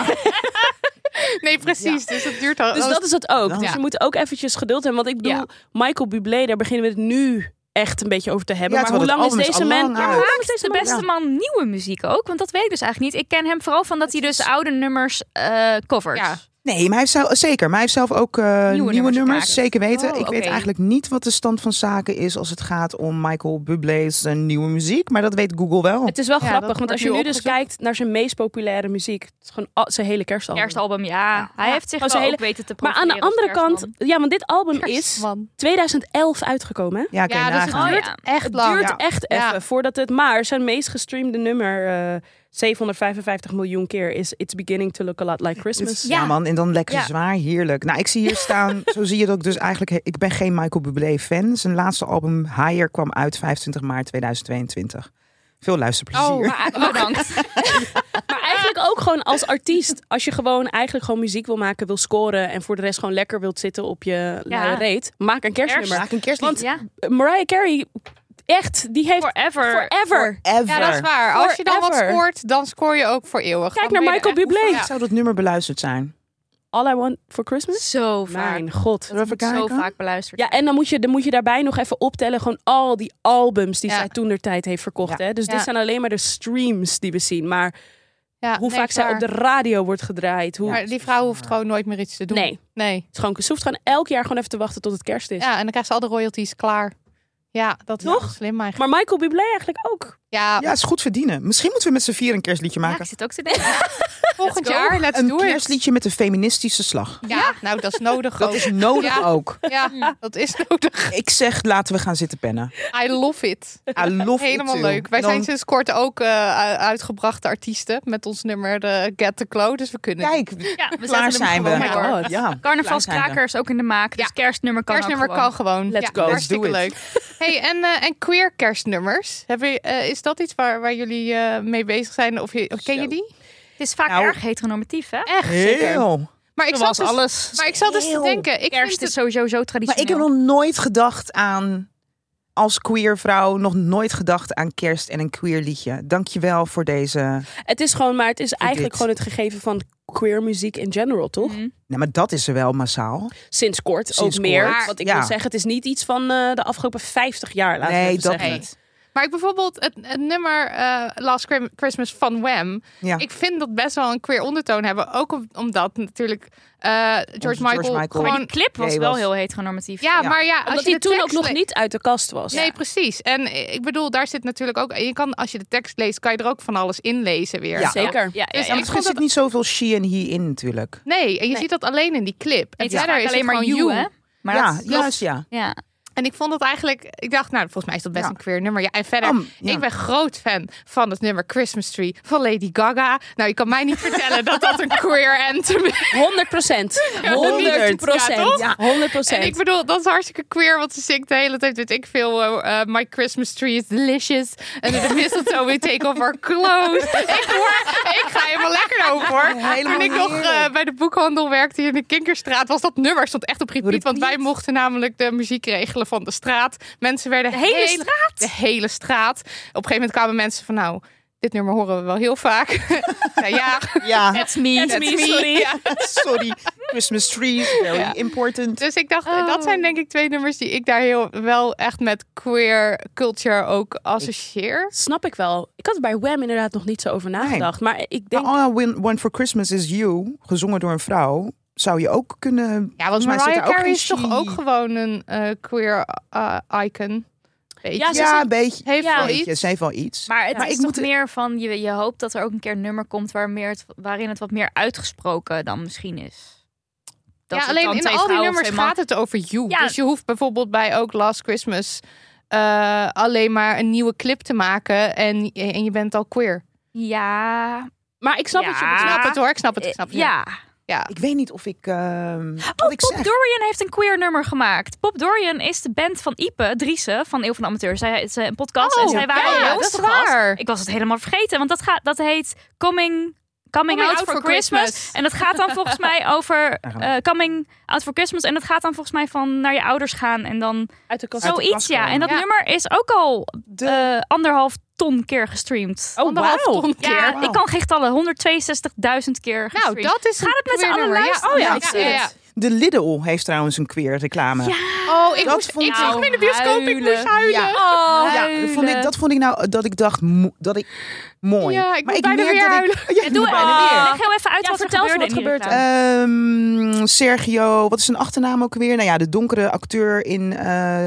Nee, precies. Dus het duurt al. Dus dat is het ook. Dus Ja. je moet ook eventjes geduld hebben. Want ik bedoel, Ja. Michael Bublé, daar beginnen we het nu echt een beetje over te hebben. Ja, maar hoe terwijl lang het is album is deze al man? lang Ja, uit. hoe lang is Maakt deze de man? beste man nieuwe muziek ook? Want dat weet ik dus eigenlijk niet. Ik ken hem vooral van dat hij dus oude nummers eh covert. Ja. Nee, maar hij heeft zelf, zeker. Maar hij heeft zelf ook eh, nieuwe, nummers nummers. gemaakt. Zeker weten. Oh, ik weet oké. eigenlijk niet wat de stand van zaken is als het gaat om Michael Bublé's eh, nieuwe muziek. Maar dat weet Google wel. Het is wel Ja, dat grappig, want wordt als je nu nu dus opgezocht. kijkt naar zijn meest populaire muziek, het is gewoon al- zijn hele kerstalbum. Kerstalbum, Oh. ja. Hij heeft zich Oh, wel zijn ook hele- weten te Maar aan de profileren als andere kant, kerstman. ja, want dit album is Kerstman. 2011 uitgekomen. hè? Ja, oké, Ja, dus het nagaan. Oh, duurt ja. echt Het lang. duurt Ja. echt even Ja. voordat het. Maar zijn meest gestreamde nummer, eh, 755 miljoen keer, is It's Beginning to Look a Lot Like Dit Christmas. is- ja. Ja. man, en dan lekker Ja. zwaar, heerlijk. Nou, ik zie hier staan, zo zie je dat ik dus eigenlijk... he- Ik ben geen Michael Bublé fan. Zijn laatste album, Higher, kwam uit 25 maart 2022. Veel luisterplezier. Oh, Maar ah, bedankt. Maar eigenlijk ook gewoon als artiest. Als je gewoon eigenlijk gewoon muziek wil maken, wil scoren en voor de rest gewoon lekker wilt zitten op je Ja. luie reet, maak een kerstnummer. Maak een kerstlied. Want- ja. Mariah Carey, echt, die heeft Forever. forever. Ever. Ja, dat is waar. Als je dan wat Forever. scoort, dan scoor je ook voor eeuwig. Kijk Dan naar ben je Michael er echt- Bublé. Ik zou dat nummer beluisterd zijn. All I Want for Christmas. Zo vaak. Mijn god. Zullen we even Zo kijken? vaak beluisterd. Ja, en dan moet, je, dan moet je daarbij nog even optellen gewoon al die albums die Ja. zij toen der tijd heeft verkocht. Ja. Hè? Dus Ja. dit zijn alleen maar de streams die we zien. Maar Ja, hoe nee, vaak zij waar. op de radio wordt gedraaid. Hoe... Maar die vrouw hoeft gewoon nooit meer iets te doen. Nee, het Nee. is gewoon, ze hoeft gewoon elk jaar gewoon even te wachten tot het kerst is. Ja, en dan krijgt ze al de royalties klaar. Ja, dat is Toch? wel slim eigenlijk. Maar Michael Bublé eigenlijk ook. Ja, Ja, is goed verdienen. Misschien moeten we met z'n vier een kerstliedje Ja, ik maken. zit ook te denken. volgend Let's go. jaar, let's een do it. kerstliedje met een feministische slag. Ja, nou, dat is nodig Dat ook. is nodig Ja. ook. Ja, dat is nodig. Ik zeg, laten we gaan zitten pennen. I love it. I love it Helemaal too. leuk. Wij Dan- zijn sinds kort ook eh, u- uitgebrachte artiesten met ons nummer de Get the Glow. Dus we kunnen... Kijk, Ja, we Oh klaar zetten hem zijn we. Oh gewoon my door. God. Ja. Carnavalskrakers ook in de maak. Dus Ja. kerstnummer kan kerstnummer ook kan gewoon. gewoon. Let's Ja, go. Let's hartstikke do it. leuk. Hey, en, eh, en queer kerstnummers. Hebben je- eh, is dat iets waar, waar jullie eh, mee bezig zijn? Of je, ken je Zo. die? Het is vaak Nou. erg heteronormatief, hè? Echt? Zeker. Heel. Maar ik, zat Zoals dus, alles. maar ik zat dus te Heel. denken. Ik Kerst vind is het, sowieso zo Maar ik heb traditioneel. nog nooit gedacht aan, als queer vrouw, nog nooit gedacht aan kerst en een queer liedje. Dankjewel voor deze. Het is gewoon, maar het is eigenlijk dit. gewoon het gegeven van queer muziek in general, toch? Mhm. Nou, maar dat is er wel massaal. Sinds kort ook Sinds meer. kort, Want ik ja. wil zeggen, het is niet iets van eh, de afgelopen 50 jaar, laten we nee, even dat zeggen. niet. maar ik bijvoorbeeld het, het nummer eh, Last Crim- Christmas van Wham. Ja. Ik vind dat best wel een queer ondertoon hebben. Ook om- omdat natuurlijk eh, George, George Michael Michael. gewoon... Maar die clip was Jee, wel was- heel heteronormatief. ja, maar ja, als Omdat je hij de toen ook tekst nog le- niet uit de kast was. Nee, precies. En eh, ik bedoel, daar zit natuurlijk ook. Je kan, als je de tekst leest, kan je er ook van alles inlezen weer. Ja. Zeker. Ja, ja, ja. Dus Ja, ik maar vond er zit dat- niet zoveel she en he in natuurlijk. Nee, en je Nee. ziet dat alleen in die clip. En Het is verder vaak is alleen maar you, hè? Maar ja, dat- juist ja. Ja. En ik vond dat eigenlijk, ik dacht, nou, volgens mij is dat best Ja. een queer nummer. Ja, en verder, Am, ja. ik ben groot fan van het nummer Christmas Tree van Lady Gaga. Nou, je kan mij niet vertellen dat dat een queer anthem is. 100 procent. 100 Ja, toch? procent. 100 En ik bedoel, dat is hartstikke queer, want ze zingt de hele tijd, weet ik veel, eh, eh, My Christmas Tree is delicious. En de mistletoe, we take off our clothes. ik, hoor, ik ga helemaal lekker over, hoor. Helemaal Toen ik nog eh, heerlijk. bij de boekhandel werkte hier in de Kinkerstraat, was dat nummer stond echt op repeat. Want wij mochten namelijk de muziek regelen van de straat. Mensen werden De hele straat? De hele straat. Op een gegeven moment kwamen mensen van, nou... Dit nummer horen we wel heel vaak. nou ja, Ja, That's me. that's me. Ja. sorry. Christmas trees, very Ja. important. Dus ik dacht, Oh. dat zijn denk ik twee nummers die ik daar heel wel echt met queer culture ook associeer. Snap ik wel. Ik had er bij Wham inderdaad nog niet zo over nagedacht. Maar ik denk... Maar All I Oh, Win- Want for Christmas is You, gezongen door een vrouw, zou je ook kunnen... Ja, want Volgens mij zit Mariah daar ook Carey geen is toch she- ook gewoon een eh, queer eh, icon. Weet Ja, je? ze Ja, zijn- een beetje. heeft ja, wel Weet je, iets. Ze heeft wel iets. Maar het Maar is ik toch moet- meer van, je, je hoopt dat er ook een keer een nummer komt waar meer het, waarin het wat meer uitgesproken dan misschien is. Dat ja, het alleen dan in twee al die vrouwen of nummers twee mannen- gaat het over you. Ja. Dus je hoeft bijvoorbeeld bij ook Last Christmas eh, alleen maar een nieuwe clip te maken en, en je bent al queer. Ja, Maar ik snap het. Ja. Ik Je, snap het hoor, ik snap het, ik eh, snap het. ja. ja. Ik weet niet of ik... ehm, Oh, wat ik Pop zeg. Dorian heeft een queer nummer gemaakt. Pop Dorian is de band van Ipe Driessen van Eeuw van de Amateur. Zij is een podcast en zij waren ja, bij dat ons is te gast. waar. Ik was het helemaal vergeten, want dat, gaat, dat heet Coming... Coming, out, for Christmas. En dat gaat dan volgens mij over eh, Coming Out for Christmas. En dat gaat dan volgens mij van naar je ouders gaan en dan Uit de kast. Oh, Zo- zoiets. kast Ja. komen. En dat Ja. nummer is ook al eh, anderhalf ton keer gestreamd. Oh, Anderhalf wauw. ton keer. ja, wauw. ik kan geen getallen. 162.000 keer Nou, gestreamd. dat is Gaat het met z'n allen luisteren? Oh ja, Ja, ik zie het. De Lidl heeft trouwens een queer reclame. Oh, ik, Dat moest, vond ik ik zag hem in de bioscoop, ik moest huilen. huilen. Ja. Oh, Ja, dat vond, ik, dat vond ik nou dat ik dacht mo- dat ik mooi. Ja, ik moet maar ik bijna merk weer dat huilen. Ik, ja, ik Doe moet bijna eh, weer. Leg heel even uit Ja, wat er vertel eens gebeurde in wat die gebeurt er. reclame. Ehm, Sergio, wat is zijn achternaam ook weer? Nou ja, de donkere acteur in eh,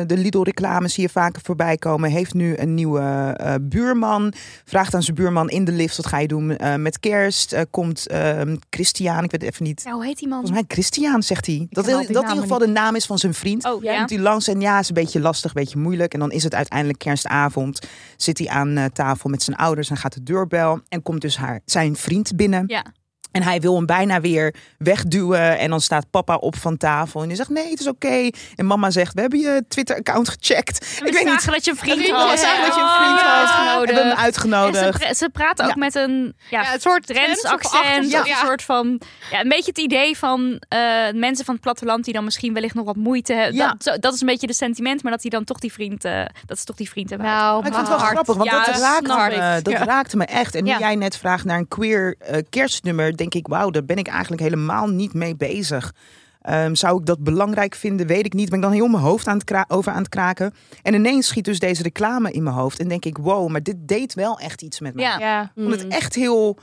de Lidl-reclames zie je vaker voorbij komen. Heeft nu een nieuwe eh, buurman. Vraagt aan zijn buurman in de lift: wat ga je doen eh, met kerst? Eh, komt ehm, Christian, ik weet even niet. Ja, hoe heet die man? Volgens mij Christian, zegt hij. Dat, ken al dat die in ieder namen geval de naam is van zijn vriend. Oh, ja. Komt hij langs en ja, is een beetje lastig, een beetje moeilijk. En dan is het uiteindelijk kerstavond. Zit hij aan eh, tafel met zijn ouders en gaat de deurbel. En komt dus haar, zijn vriend binnen. Ja. En hij wil hem bijna weer wegduwen. En dan staat papa op van tafel. En hij zegt, nee, het is oké. En mama zegt, we hebben je Twitter-account gecheckt. Ik ik weet niet. dat je een vriend Vriend had. We was, zagen dat je een Oh, vriend ja. had. Hebben we hem En ze, uitgenodigd. pra- ze praten ook Ja. met een ja, Ja, het soort Drents Drents of accent. Achters, of ja. Een soort van. Ja, een beetje het idee van eh, mensen van het platteland die dan misschien wellicht nog wat moeite hebben. Ja. Dat, zo- dat is een beetje de sentiment, maar dat die dan toch die vriend. eh, dat ze toch die vriend hebben. Nou, Maar ik vond het wel maar- grappig, want Ja, dat, dat raakte snap me, ik. dat Ja. raakte me echt. En nu Ja. jij net vraagt naar een queer eh, kerstnummer, denk ik, wauw, daar ben ik eigenlijk helemaal niet mee bezig. Ehm, zou ik dat belangrijk vinden? Weet ik niet. Ben ik dan heel mijn hoofd aan het kra- over aan het kraken. En ineens schiet dus deze reclame in mijn hoofd. En denk ik, wow, maar dit deed wel echt iets met mij. Ja. Ja. Mm. Ik vond het echt heel...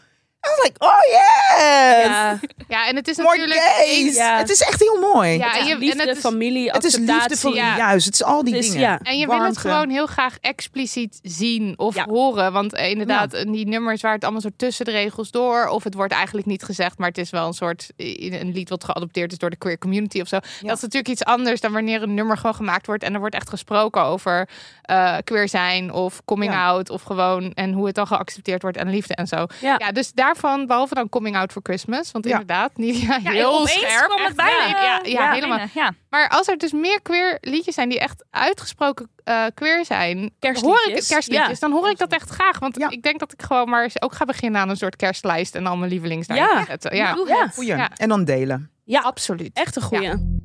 I was like, oh yes! Ja, ja, en het is More natuurlijk... gays! Ja. Het is echt heel mooi. Ja, en je- liefde, en het is- familie, het is liefde voor... acceptatie. ja. Juist, het is al die Het is- dingen. ja. En je wil het Warmte. gewoon heel graag expliciet zien of Ja. horen. Want eh, inderdaad, in die nummers waar het allemaal zo tussen de regels door. Of het wordt eigenlijk niet gezegd, maar het is wel een soort eh, een lied wat geadopteerd is door de queer community of zo. Dat is natuurlijk iets anders dan wanneer een nummer gewoon gemaakt wordt. En er wordt echt gesproken over eh, queer zijn of coming Ja. out. Of gewoon en hoe het dan geaccepteerd wordt en liefde en zo. Ja. dus daarvan, behalve dan coming out for Christmas. Want Ja. inderdaad, niet ja, Ja, heel opeens scherp. kwam het echt. bijna. Ja, ja, ja, helemaal. binnen, Ja. Maar als er dus meer queer liedjes zijn die echt uitgesproken eh, queer zijn, Kerstliedjes. hoor ik het kerstliedjes, Ja. dan hoor ik dat echt graag. Want Ja. ik denk dat ik gewoon maar eens ook ga beginnen aan een soort kerstlijst en al mijn lievelings daarin Ja. te zetten. Ja. Doe Ja. het. Goeie. Ja. En dan delen. ja, absoluut. Echt een goeie.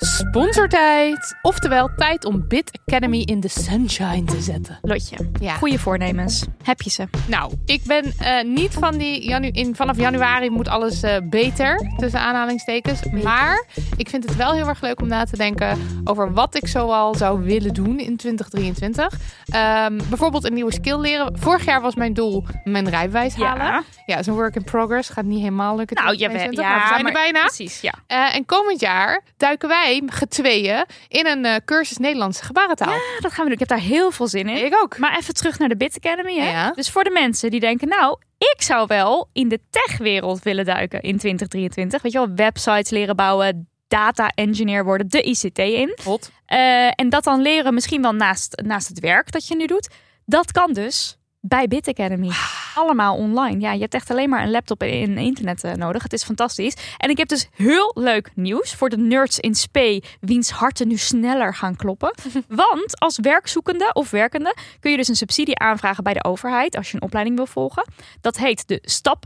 Sponsortijd, oftewel tijd om Bit Academy in the sunshine te zetten. Lotje. Ja. Goede voornemens. Heb je ze? Nou, ik ben eh, niet van die. Janu in, vanaf januari moet alles eh, beter, tussen aanhalingstekens. Maar ik vind het wel heel erg leuk om na te denken over wat ik zoal zou willen doen in 2023. Ehm, bijvoorbeeld een nieuwe skill leren. Vorig jaar was mijn doel mijn rijbewijs Ja. halen. Ja, is een work in progress. Gaat niet helemaal lukken. Nou, je bent 2022, maar we zijn er bijna. Precies, ja. Eh, en komend jaar duiken wij getweeën in een eh, cursus Nederlandse gebarentaal. Ja, Ah, dat gaan we doen. Ik heb daar heel veel zin in. Ik ook. Maar even terug naar de Bit Academy. Hè? Ja. Dus voor de mensen die denken, nou, ik zou wel in de techwereld willen duiken in 2023. Weet je wel, websites leren bouwen, data engineer worden, de ICT in. Hot. Eh, en dat dan leren misschien wel naast, naast het werk dat je nu doet. Dat kan dus bij Bit Academy. Allemaal online. Ja, je hebt echt alleen maar een laptop en en internet eh, nodig. Het is fantastisch. En ik heb dus heel leuk nieuws voor de nerds in spe... wiens harten nu sneller gaan kloppen. Want als werkzoekende of werkende... kun je dus een subsidie aanvragen bij de overheid... als je een opleiding wil volgen. Dat heet de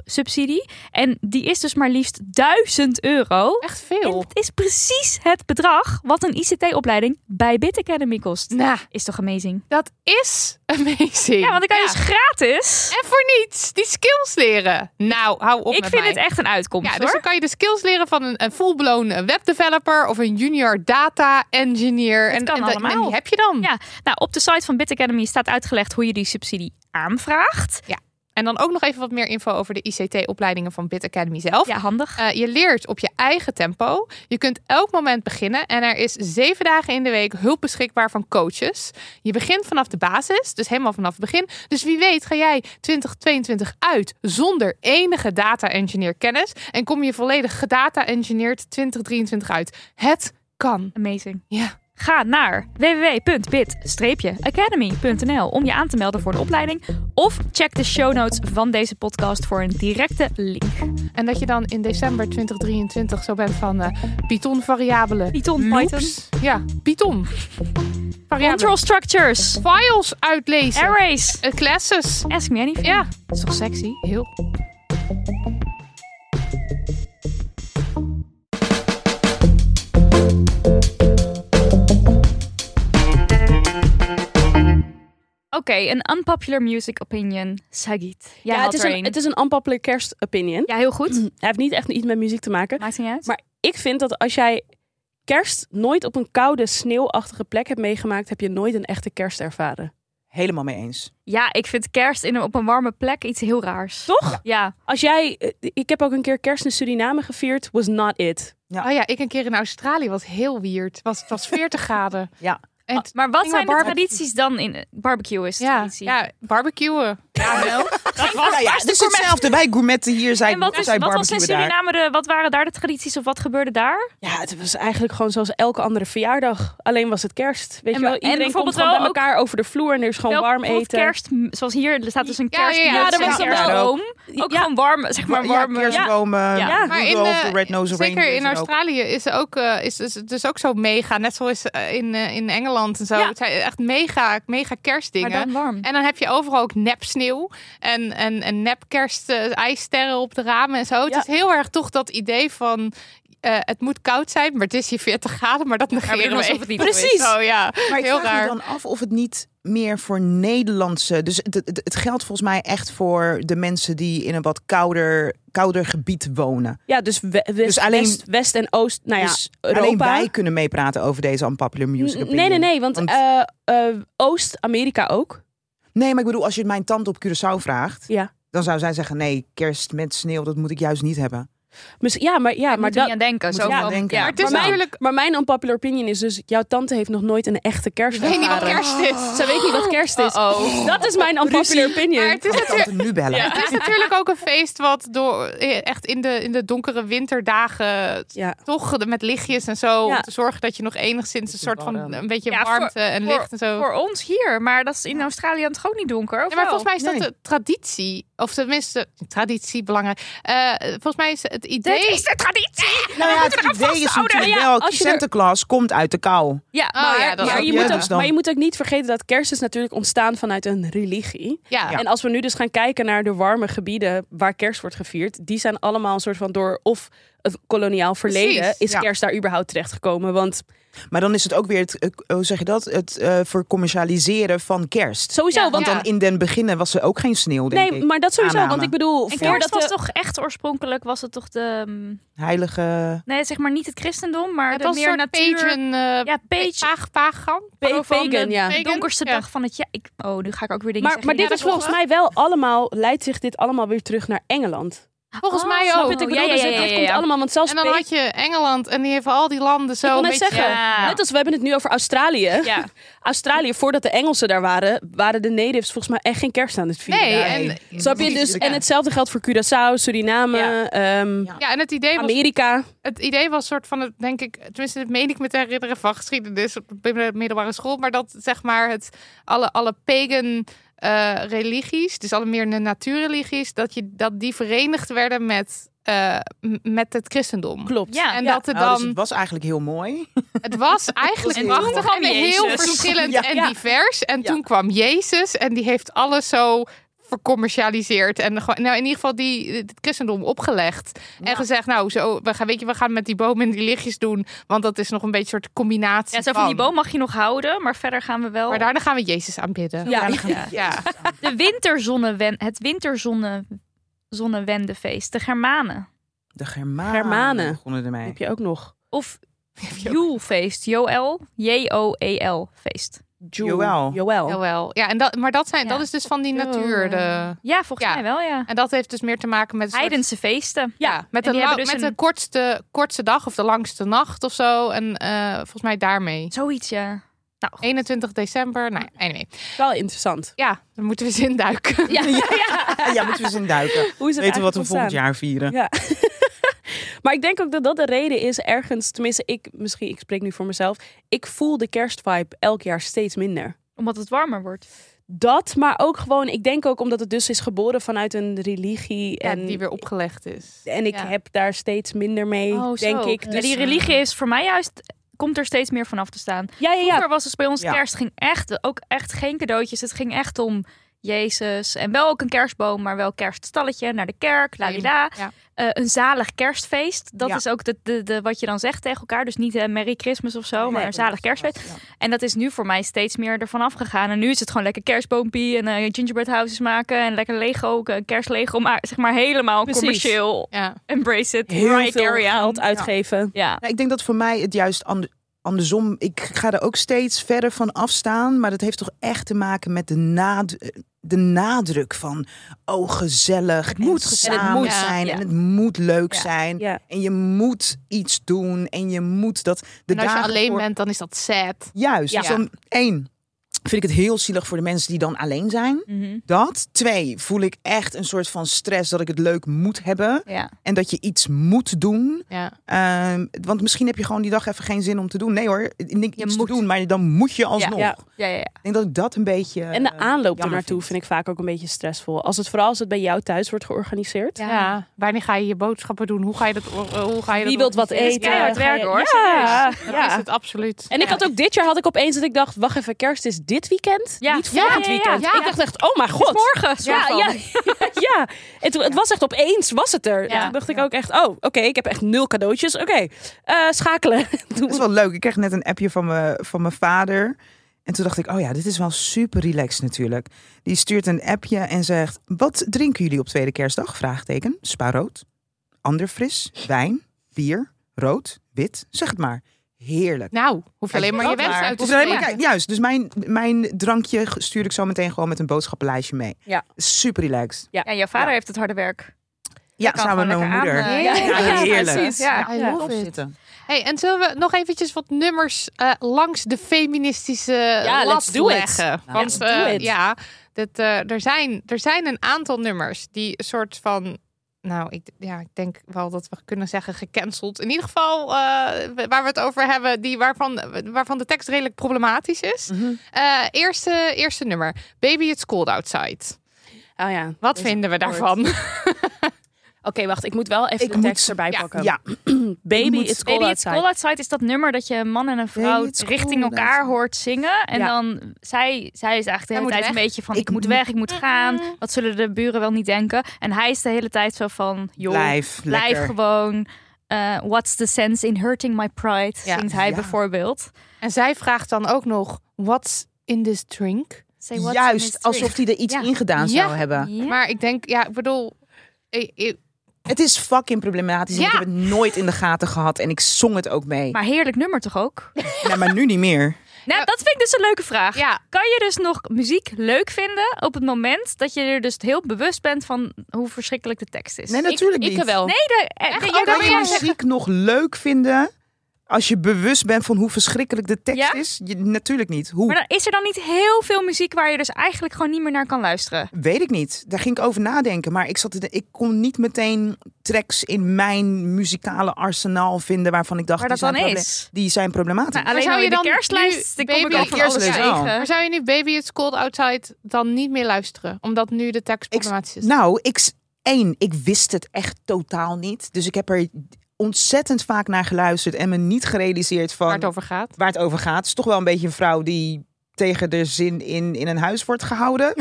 stapsubsidie. En die is dus maar liefst 1000 euro. Echt En veel. het is precies het bedrag wat een ICT-opleiding bij Bit Academy kost. Nou, Is toch amazing? dat is Amazing. Ja, want dan kan je dus gratis. En voor niets, die skills leren. Nou, hou op Ik met vind mij. het echt een uitkomst Ja, dus hoor. dan kan je de skills leren van een, een full-blown webdeveloper of een junior data engineer. en, kan en, dat- en allemaal. die heb je dan. Ja, nou, op de site van Bit Academy staat uitgelegd hoe je die subsidie aanvraagt. En dan ook nog even wat meer info over de ICT-opleidingen van Bit Academy zelf. Ja, handig. Eh, je leert op je eigen tempo. Je kunt elk moment beginnen. En er is zeven dagen in de week hulp beschikbaar van coaches. Je begint vanaf de basis, dus helemaal vanaf het begin. Dus wie weet ga jij 2022 uit zonder enige data engineer kennis. En kom je volledig gedata engineerd 2023 uit. Het kan. Amazing. Ja. Ga naar www.bit-academy.nl om je aan te melden voor de opleiding. Of check de show notes van deze podcast voor een directe link. En dat je dan in december 2023 zo bent van eh, Python variabelen. Python, Python. Loops. Ja, Python. Variabelen. Control structures. Files uitlezen. Arrays. Eh, classes. Ask me anything. Ja. Dat is toch sexy? Heel. Oké, een unpopular music opinion. Sagit. Jij Ja, had het is, er een, een. het is een unpopular kerstopinion. Ja, heel goed. Hij heeft niet echt iets met muziek te maken. Maakt niet uit. Maar ik vind dat als jij kerst nooit op een koude, sneeuwachtige plek hebt meegemaakt, heb je nooit een echte kerst ervaren. Helemaal mee eens. Ja, ik vind kerst in een, op een warme plek iets heel raars. Toch? Ja, Als jij, eh, ik heb ook een keer kerst in Suriname gevierd, was not it. Ja. Oh ja, ik een keer in Australië was heel weird. Was, het was 40 graden. Ja. En het- maar wat Ging zijn maar de barbecue. tradities dan in barbecue is de ja, traditie? ja, barbecuen. Ja, wel. Dat was ja, dus hetzelfde. Wij gourmetten hier zijn, En wat, is, zij wat was in barbecuen daar. Suriname de, wat waren daar de tradities of wat gebeurde daar? Ja, het was eigenlijk gewoon zoals elke andere verjaardag. Alleen was het kerst. Weet En je wel, wa- en iedereen komt bijvoorbeeld gewoon bij wel ook- elkaar over de vloer en er is gewoon Wel warm bijvoorbeeld eten. Kerst, m- zoals hier er staat dus een Ja, ja, kerst. ja, ja, dat er was was dan een wel- room. Ook Ja. gewoon warm, zeg maar ja, warm. kerstbomen, Ja. Maar in, Rudolph, eh, de Red Nose Zeker in Australië is, er ook, eh, is, is het dus ook zo mega. Net zoals eh, in, eh, in Engeland en zo. Ja. Het zijn echt mega, mega kerstdingen. maar dan warm. En dan heb je overal ook nep sneeuw en, en, en nep kerst, eh, ijssterren op de ramen en zo. Het Ja. is heel erg toch dat idee van eh, het moet koud zijn, maar het is hier 40 graden, maar dat we doen negeren we. alsof het even. niet zo is. Precies. Zo, ja. Maar ik heel vraag raar. me dan af of het niet meer voor Nederlandse... Dus het, het, het geldt volgens mij echt voor de mensen die in een wat kouder, kouder gebied wonen. Ja, dus, we- west, Dus alleen- west, west en oost, nou ja, dus Europa. alleen wij kunnen meepraten over deze unpopular music N- opinion. Nee, nee, nee, want, Want- eh, eh, Oost-Amerika ook. Nee, maar ik bedoel, als je mijn tante op Curaçao vraagt... Ja. dan zou zij zeggen, nee, kerst met sneeuw, dat moet ik juist niet hebben. Miss- ja, maar, ja, Daar maar moet je niet dat... aan denken. Moet Zo je niet van- aan denken. ja. Maar het is Maar mijn- natuurlijk, Maar mijn unpopular opinion is dus, jouw tante heeft nog nooit een echte kerst ik weet niet wat ervaren. kerst is. Oh, Ze weet niet wat kerst is. Dat is mijn unpopular opinion. Maar het is, Ik kan natuurlijk, tante nu bellen. het is natuurlijk ook een feest wat door, eh, echt in de, in de donkere winterdagen Ja. toch de- met lichtjes en zo Ja. om te zorgen dat je nog enigszins een soort van warm. een beetje Ja, voor- warmte en licht en zo. Voor ons hier, maar dat is in Australië het gewoon niet donker. Of Ja, maar wel? volgens mij is dat Nee. de traditie. Of tenminste, traditie belangrijk. Eh, volgens mij is het idee. Dit is de traditie! Nou ja, het idee Oh, is natuurlijk Ja, wel, als je er- Santa Claus komt uit de kou. Ja, Oh, maar, ja, dat maar, ook, je ja. moet Dus ook, dan- maar je moet ook niet vergeten dat kerst is natuurlijk ontstaan vanuit een religie. ja. En als we nu dus gaan kijken naar de warme gebieden waar kerst wordt gevierd, die zijn allemaal een soort van door of het koloniaal verleden Precies, is ja. kerst daar überhaupt terechtgekomen. Want Maar dan is het ook weer het, eh, hoe zeg je dat? Het eh vercommercialiseren van kerst. sowieso, Ja, want ja. Dan in den beginnen was er ook geen sneeuw, denk nee, ik. maar dat sowieso. Aanname. Want ik bedoel, En kerst voordat was de- toch echt oorspronkelijk, was het toch de... mm, Heilige... Nee, zeg maar niet het christendom, maar het de was meer een soort natuur... pagan, eh, ja, page, paag- pagan. Pa- Zo van pagan, de ja. donkerste Ja. dag van het jaar. Ik, oh, nu ga ik ook weer dingen maar, zeggen. maar dit dat is volgens mij wel allemaal, leidt zich dit allemaal weer terug naar Engeland. Volgens mij Snap ook. je wat ik Oh, ja, bedoel? ja, Dus ja, dit- ja, dit ja, komt ja. allemaal, want zelfs En dan Pe- had je Engeland en die heeft al die landen zo. ik wil een net beetje- zeggen, Ja. net als we hebben het nu over Australië. Ja. Australië, voordat de Engelsen daar waren, waren de natives volgens mij echt geen kerst aan het vieren. Nee, daar. en, Snap je? Dus, en hetzelfde geldt voor Curaçao, Suriname, Ja. ehm, Ja. ja, en het idee was Amerika. het idee was soort van, het, denk ik, tenminste, dat meen ik me te herinneren van geschiedenis op de middelbare school, maar dat zeg maar het alle, alle pagan eh, religies, dus alle meer de natuurreligies, dat, je, dat die verenigd werden met, eh, m- met het christendom. Klopt. Ja. En dat het Nou, dan, dus het was eigenlijk heel mooi. het was eigenlijk En toen prachtig kwam en heel Jezus. verschillend Ja. en Ja. divers. En Ja. toen kwam Jezus en die heeft alles zo vercommercialiseerd. En gewoon, nou, in ieder geval die, het christendom opgelegd. En gezegd, nou, zo, we gaan, weet je, we gaan met die bomen en die lichtjes doen. Want dat is nog een beetje een soort combinatie. Ja, zo van die bomen. boom mag je nog houden, maar verder gaan we wel. Maar daarna gaan we Jezus aanbidden. Ja, ja. ja. De winterzonnewen, het winterzonnewendefeest, de Germanen. De Germanen, Germanen. begonnen ermee. Heb je ook nog? Of Joelfeest, Joel, J-O-E-L feest. Jewel. Joël. Joël. Jawel. Ja, en dat, maar dat, zijn, Ja. dat is dus van die Zo, natuur. De, Ja, volgens Ja. mij wel, ja. en dat heeft dus meer te maken met... een soort- Heidense feesten. Ja, met, En de, die la- hebben dus met de een- kortste, kortste dag of de langste nacht of zo. En eh, volgens mij daarmee. Zoiets, ja. Nou, goed. 21 december. Nou, ja, anyway. Wel interessant. Ja, dan moeten we eens induiken. Ja, ja, ja. Ja, moeten we eens in duiken. Hoe is het Weten we wat we eigenlijk volgend ontstaan? jaar vieren. Ja. maar ik denk ook dat dat de reden is ergens, tenminste ik, misschien ik spreek nu voor mezelf, ik voel de kerstvibe elk jaar steeds minder. Omdat het warmer wordt. Dat, maar ook gewoon, ik denk ook omdat het dus is geboren vanuit een religie Ja, en, die weer opgelegd is. en ik ja. heb daar steeds minder mee, denk ik. Oh, Ja, Dus, die religie is voor mij juist... Komt er steeds meer vanaf te staan. ja, ja, ja. Vroeger was het bij ons Ja. kerst ging echt ook echt geen cadeautjes. Het ging echt om Jezus en wel ook een kerstboom, maar wel kerststalletje naar de kerk, la la. Ja. Eh, een zalig kerstfeest. Dat Ja. is ook de, de, de, wat je dan zegt tegen elkaar. Dus niet eh, Merry Christmas of zo, maar een zalig kerstfeest. En dat is nu voor mij steeds meer ervan afgegaan. En nu is het gewoon lekker kerstboompie en eh, gingerbread houses maken en lekker Lego, eh, kerslego, maar zeg maar helemaal Precies. commercieel. Ja. Embrace it, Heel right Veel area. geld uitgeven. Ja. Nou, ik denk dat voor mij het juist ander- andersom. Ik ga er ook steeds verder van afstaan. Maar dat heeft toch echt te maken met de, nad- de nadruk van. Oh, gezellig. Het moet en gezellig samen moet, ja. zijn. Ja. En het moet leuk Ja. zijn. Ja. En je moet iets doen. En je moet dat. De En als je dagen alleen voor- bent, dan is dat sad. Juist. Ja. Dus dan één. Vind ik het heel zielig voor de mensen die dan alleen zijn. Mhm. Dat. Twee. Voel ik echt een soort van stress dat ik het leuk moet hebben. ja. En dat je iets moet doen. Ja. Ehm, want misschien heb je gewoon die dag even geen zin om te doen. Nee hoor, ik denk iets moet. te doen, maar dan moet je alsnog. ja. Ja, ja, ja. Ik denk dat ik dat een beetje... eh, En de aanloop er ernaartoe Eh, vind. ik vaak ook een beetje stressvol. Als het vooral als het bij jou thuis wordt georganiseerd. Ja. Wanneer ga je je boodschappen doen? Hoe ga je dat? eh, Hoe ga je Wie dat wilt wat organiseren? eten? keihard Ga je- werken, hoor, Ja, Dat ja. is het absoluut. En ik had ook dit jaar had ik opeens dat ik dacht, wacht even, kerst is dit weekend, Ja. niet Ja, volgend ja, ja, weekend. ja. Ik dacht echt, oh mijn god. Morgen, soort Ja, van. ja, ja. Het, het was echt opeens, was het er. Ja. Toen dacht ik ook echt, oh, oké, ik heb echt nul cadeautjes. Oké, eh, schakelen. Doe- Dat is wel leuk. Ik kreeg net een appje van, me, van mijn vader. En toen dacht ik, oh ja, dit is wel super relaxed natuurlijk. Die stuurt een appje en zegt... Wat drinken jullie op tweede kerstdag? Vraagteken. Spa rood. Ander fris. Wijn. Bier. Rood. Wit. Zeg het maar. Heerlijk. Nou, hoef je Kijk, alleen maar je dat wens maar. uit te Hoef je alleen maar- spreken. kijk, Juist, dus mijn, mijn drankje stuur ik zo meteen gewoon met een boodschappenlijstje mee. Ja. Super relaxed. Ja, jouw vader heeft het harde werk. Ja, kan samen met gewoon mijn lekker moeder. aan, eh, Ja, ja, ja, ja, heerlijk. precies, ja. I Ja. love it. Zitten. Hey, en zullen we nog eventjes wat nummers eh, langs de feministische lat let's do it. leggen? Want let's do eh, it. ja, dat, eh, er, zijn, er zijn een aantal nummers die een soort van... Nou, ik, ja, ik denk wel dat we kunnen zeggen gecanceld. In ieder geval eh, waar we het over hebben, die waarvan, waarvan de tekst redelijk problematisch is. Mhm. Eh, eerste, eerste nummer, Baby It's Cold Outside. Oh ja. Oké, Wat vinden we daarvan? wacht, ik moet wel even Ik de tekst moet- erbij ja, pakken. Ja, Baby, moet- it's cold Baby It's outside. Cold Outside is dat nummer dat je een man en een vrouw Baby, it's richting cold elkaar outside. hoort zingen. En Ja. dan, zij, zij is eigenlijk de hele moet tijd weg. een beetje van, Ik ik, moet Mm. moet- weg, ik moet gaan. Wat zullen de buren wel niet denken? En hij is de hele tijd zo van, joh, blijf, blijf, lekker. gewoon. Eh, what's the sense in hurting my pride, Ja. zingt hij Ja. bijvoorbeeld. En zij vraagt dan ook nog, what's in this drink? Say what's in this Juist, drink. alsof hij er iets Ja. in gedaan Ja. zou hebben. Ja. Maar ik denk, ja, ik bedoel... eh, eh, Het is fucking problematisch. en Ja. Ik heb het nooit in de gaten gehad en ik zong het ook mee. Maar, Maar heerlijk nummer toch ook? maar nu niet meer. Nou, dat vind ik dus een leuke vraag. Ja, Kan je dus nog muziek leuk vinden op het moment dat je er dus heel bewust bent van hoe verschrikkelijk de tekst is? Nee, natuurlijk Ik niet. wel. Nee, de, eh, Echt? nee, Oh, jij kan dat Kan wil niet je jij zeggen- muziek nog leuk vinden als je bewust bent van hoe verschrikkelijk de tekst Ja? is? Je- natuurlijk niet. Hoe? Maar dan, is er dan niet heel veel muziek waar je dus eigenlijk gewoon niet meer naar kan luisteren? Weet ik niet. Daar ging ik over nadenken. Maar ik, zat te de- ik kon niet meteen tracks in mijn muzikale arsenaal vinden waarvan ik dacht Waar dat die, dan zijn proble- is? die zijn problematisch. Nou, alleen zou al je in de dan kerstlijst nu ik kom ik Baby al van alles Kerstlijst wel. tegen. Maar zou je nu Baby It's Cold Outside dan niet meer luisteren? Omdat nu de tekst Ik- problematisch dus- is. Nou, ik, s- één, ik wist het echt totaal niet. Dus ik heb er ontzettend vaak naar geluisterd en me niet gerealiseerd van waar het over gaat. waar het over gaat. Het is toch wel een beetje een vrouw die tegen de zin in, in een huis wordt gehouden.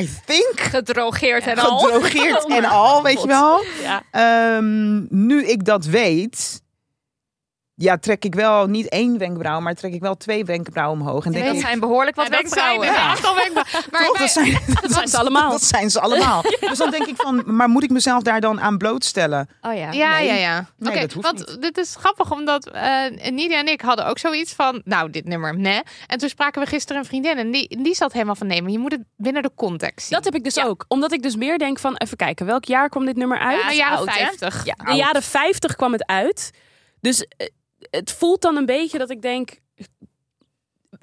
I think. Gedrogeerd en al. Gedrogeerd Oh en mijn al, weet je God. wel. Ja. Ehm, nu ik dat weet, ja, trek ik wel niet één wenkbrauw, maar trek ik wel twee wenkbrauwen omhoog. En denk Dat ik, zijn behoorlijk wat En dat zijn wenkbrauwen. een aantal wenkbrauwen. Maar toch, wij- dat zijn, Dat zijn ze allemaal. dat zijn ze allemaal. Dus dan denk ik van, maar moet ik mezelf daar dan aan blootstellen? Oh ja. Ja, Nee. ja, ja. Nee, Oké, dat hoeft want dit is grappig, omdat eh Nidia en ik hadden ook zoiets van... Nou, dit nummer, nee. En toen spraken we gisteren een vriendin en die, die zat helemaal van... Nee, maar je moet het binnen de context zien. Dat heb ik dus ook. Omdat ik dus meer denk van, even kijken, welk jaar kwam dit nummer uit? ja, jaren oud, hè? 50. Ja, de jaren 50 kwam het uit. Dus eh, het voelt dan een beetje dat ik denk.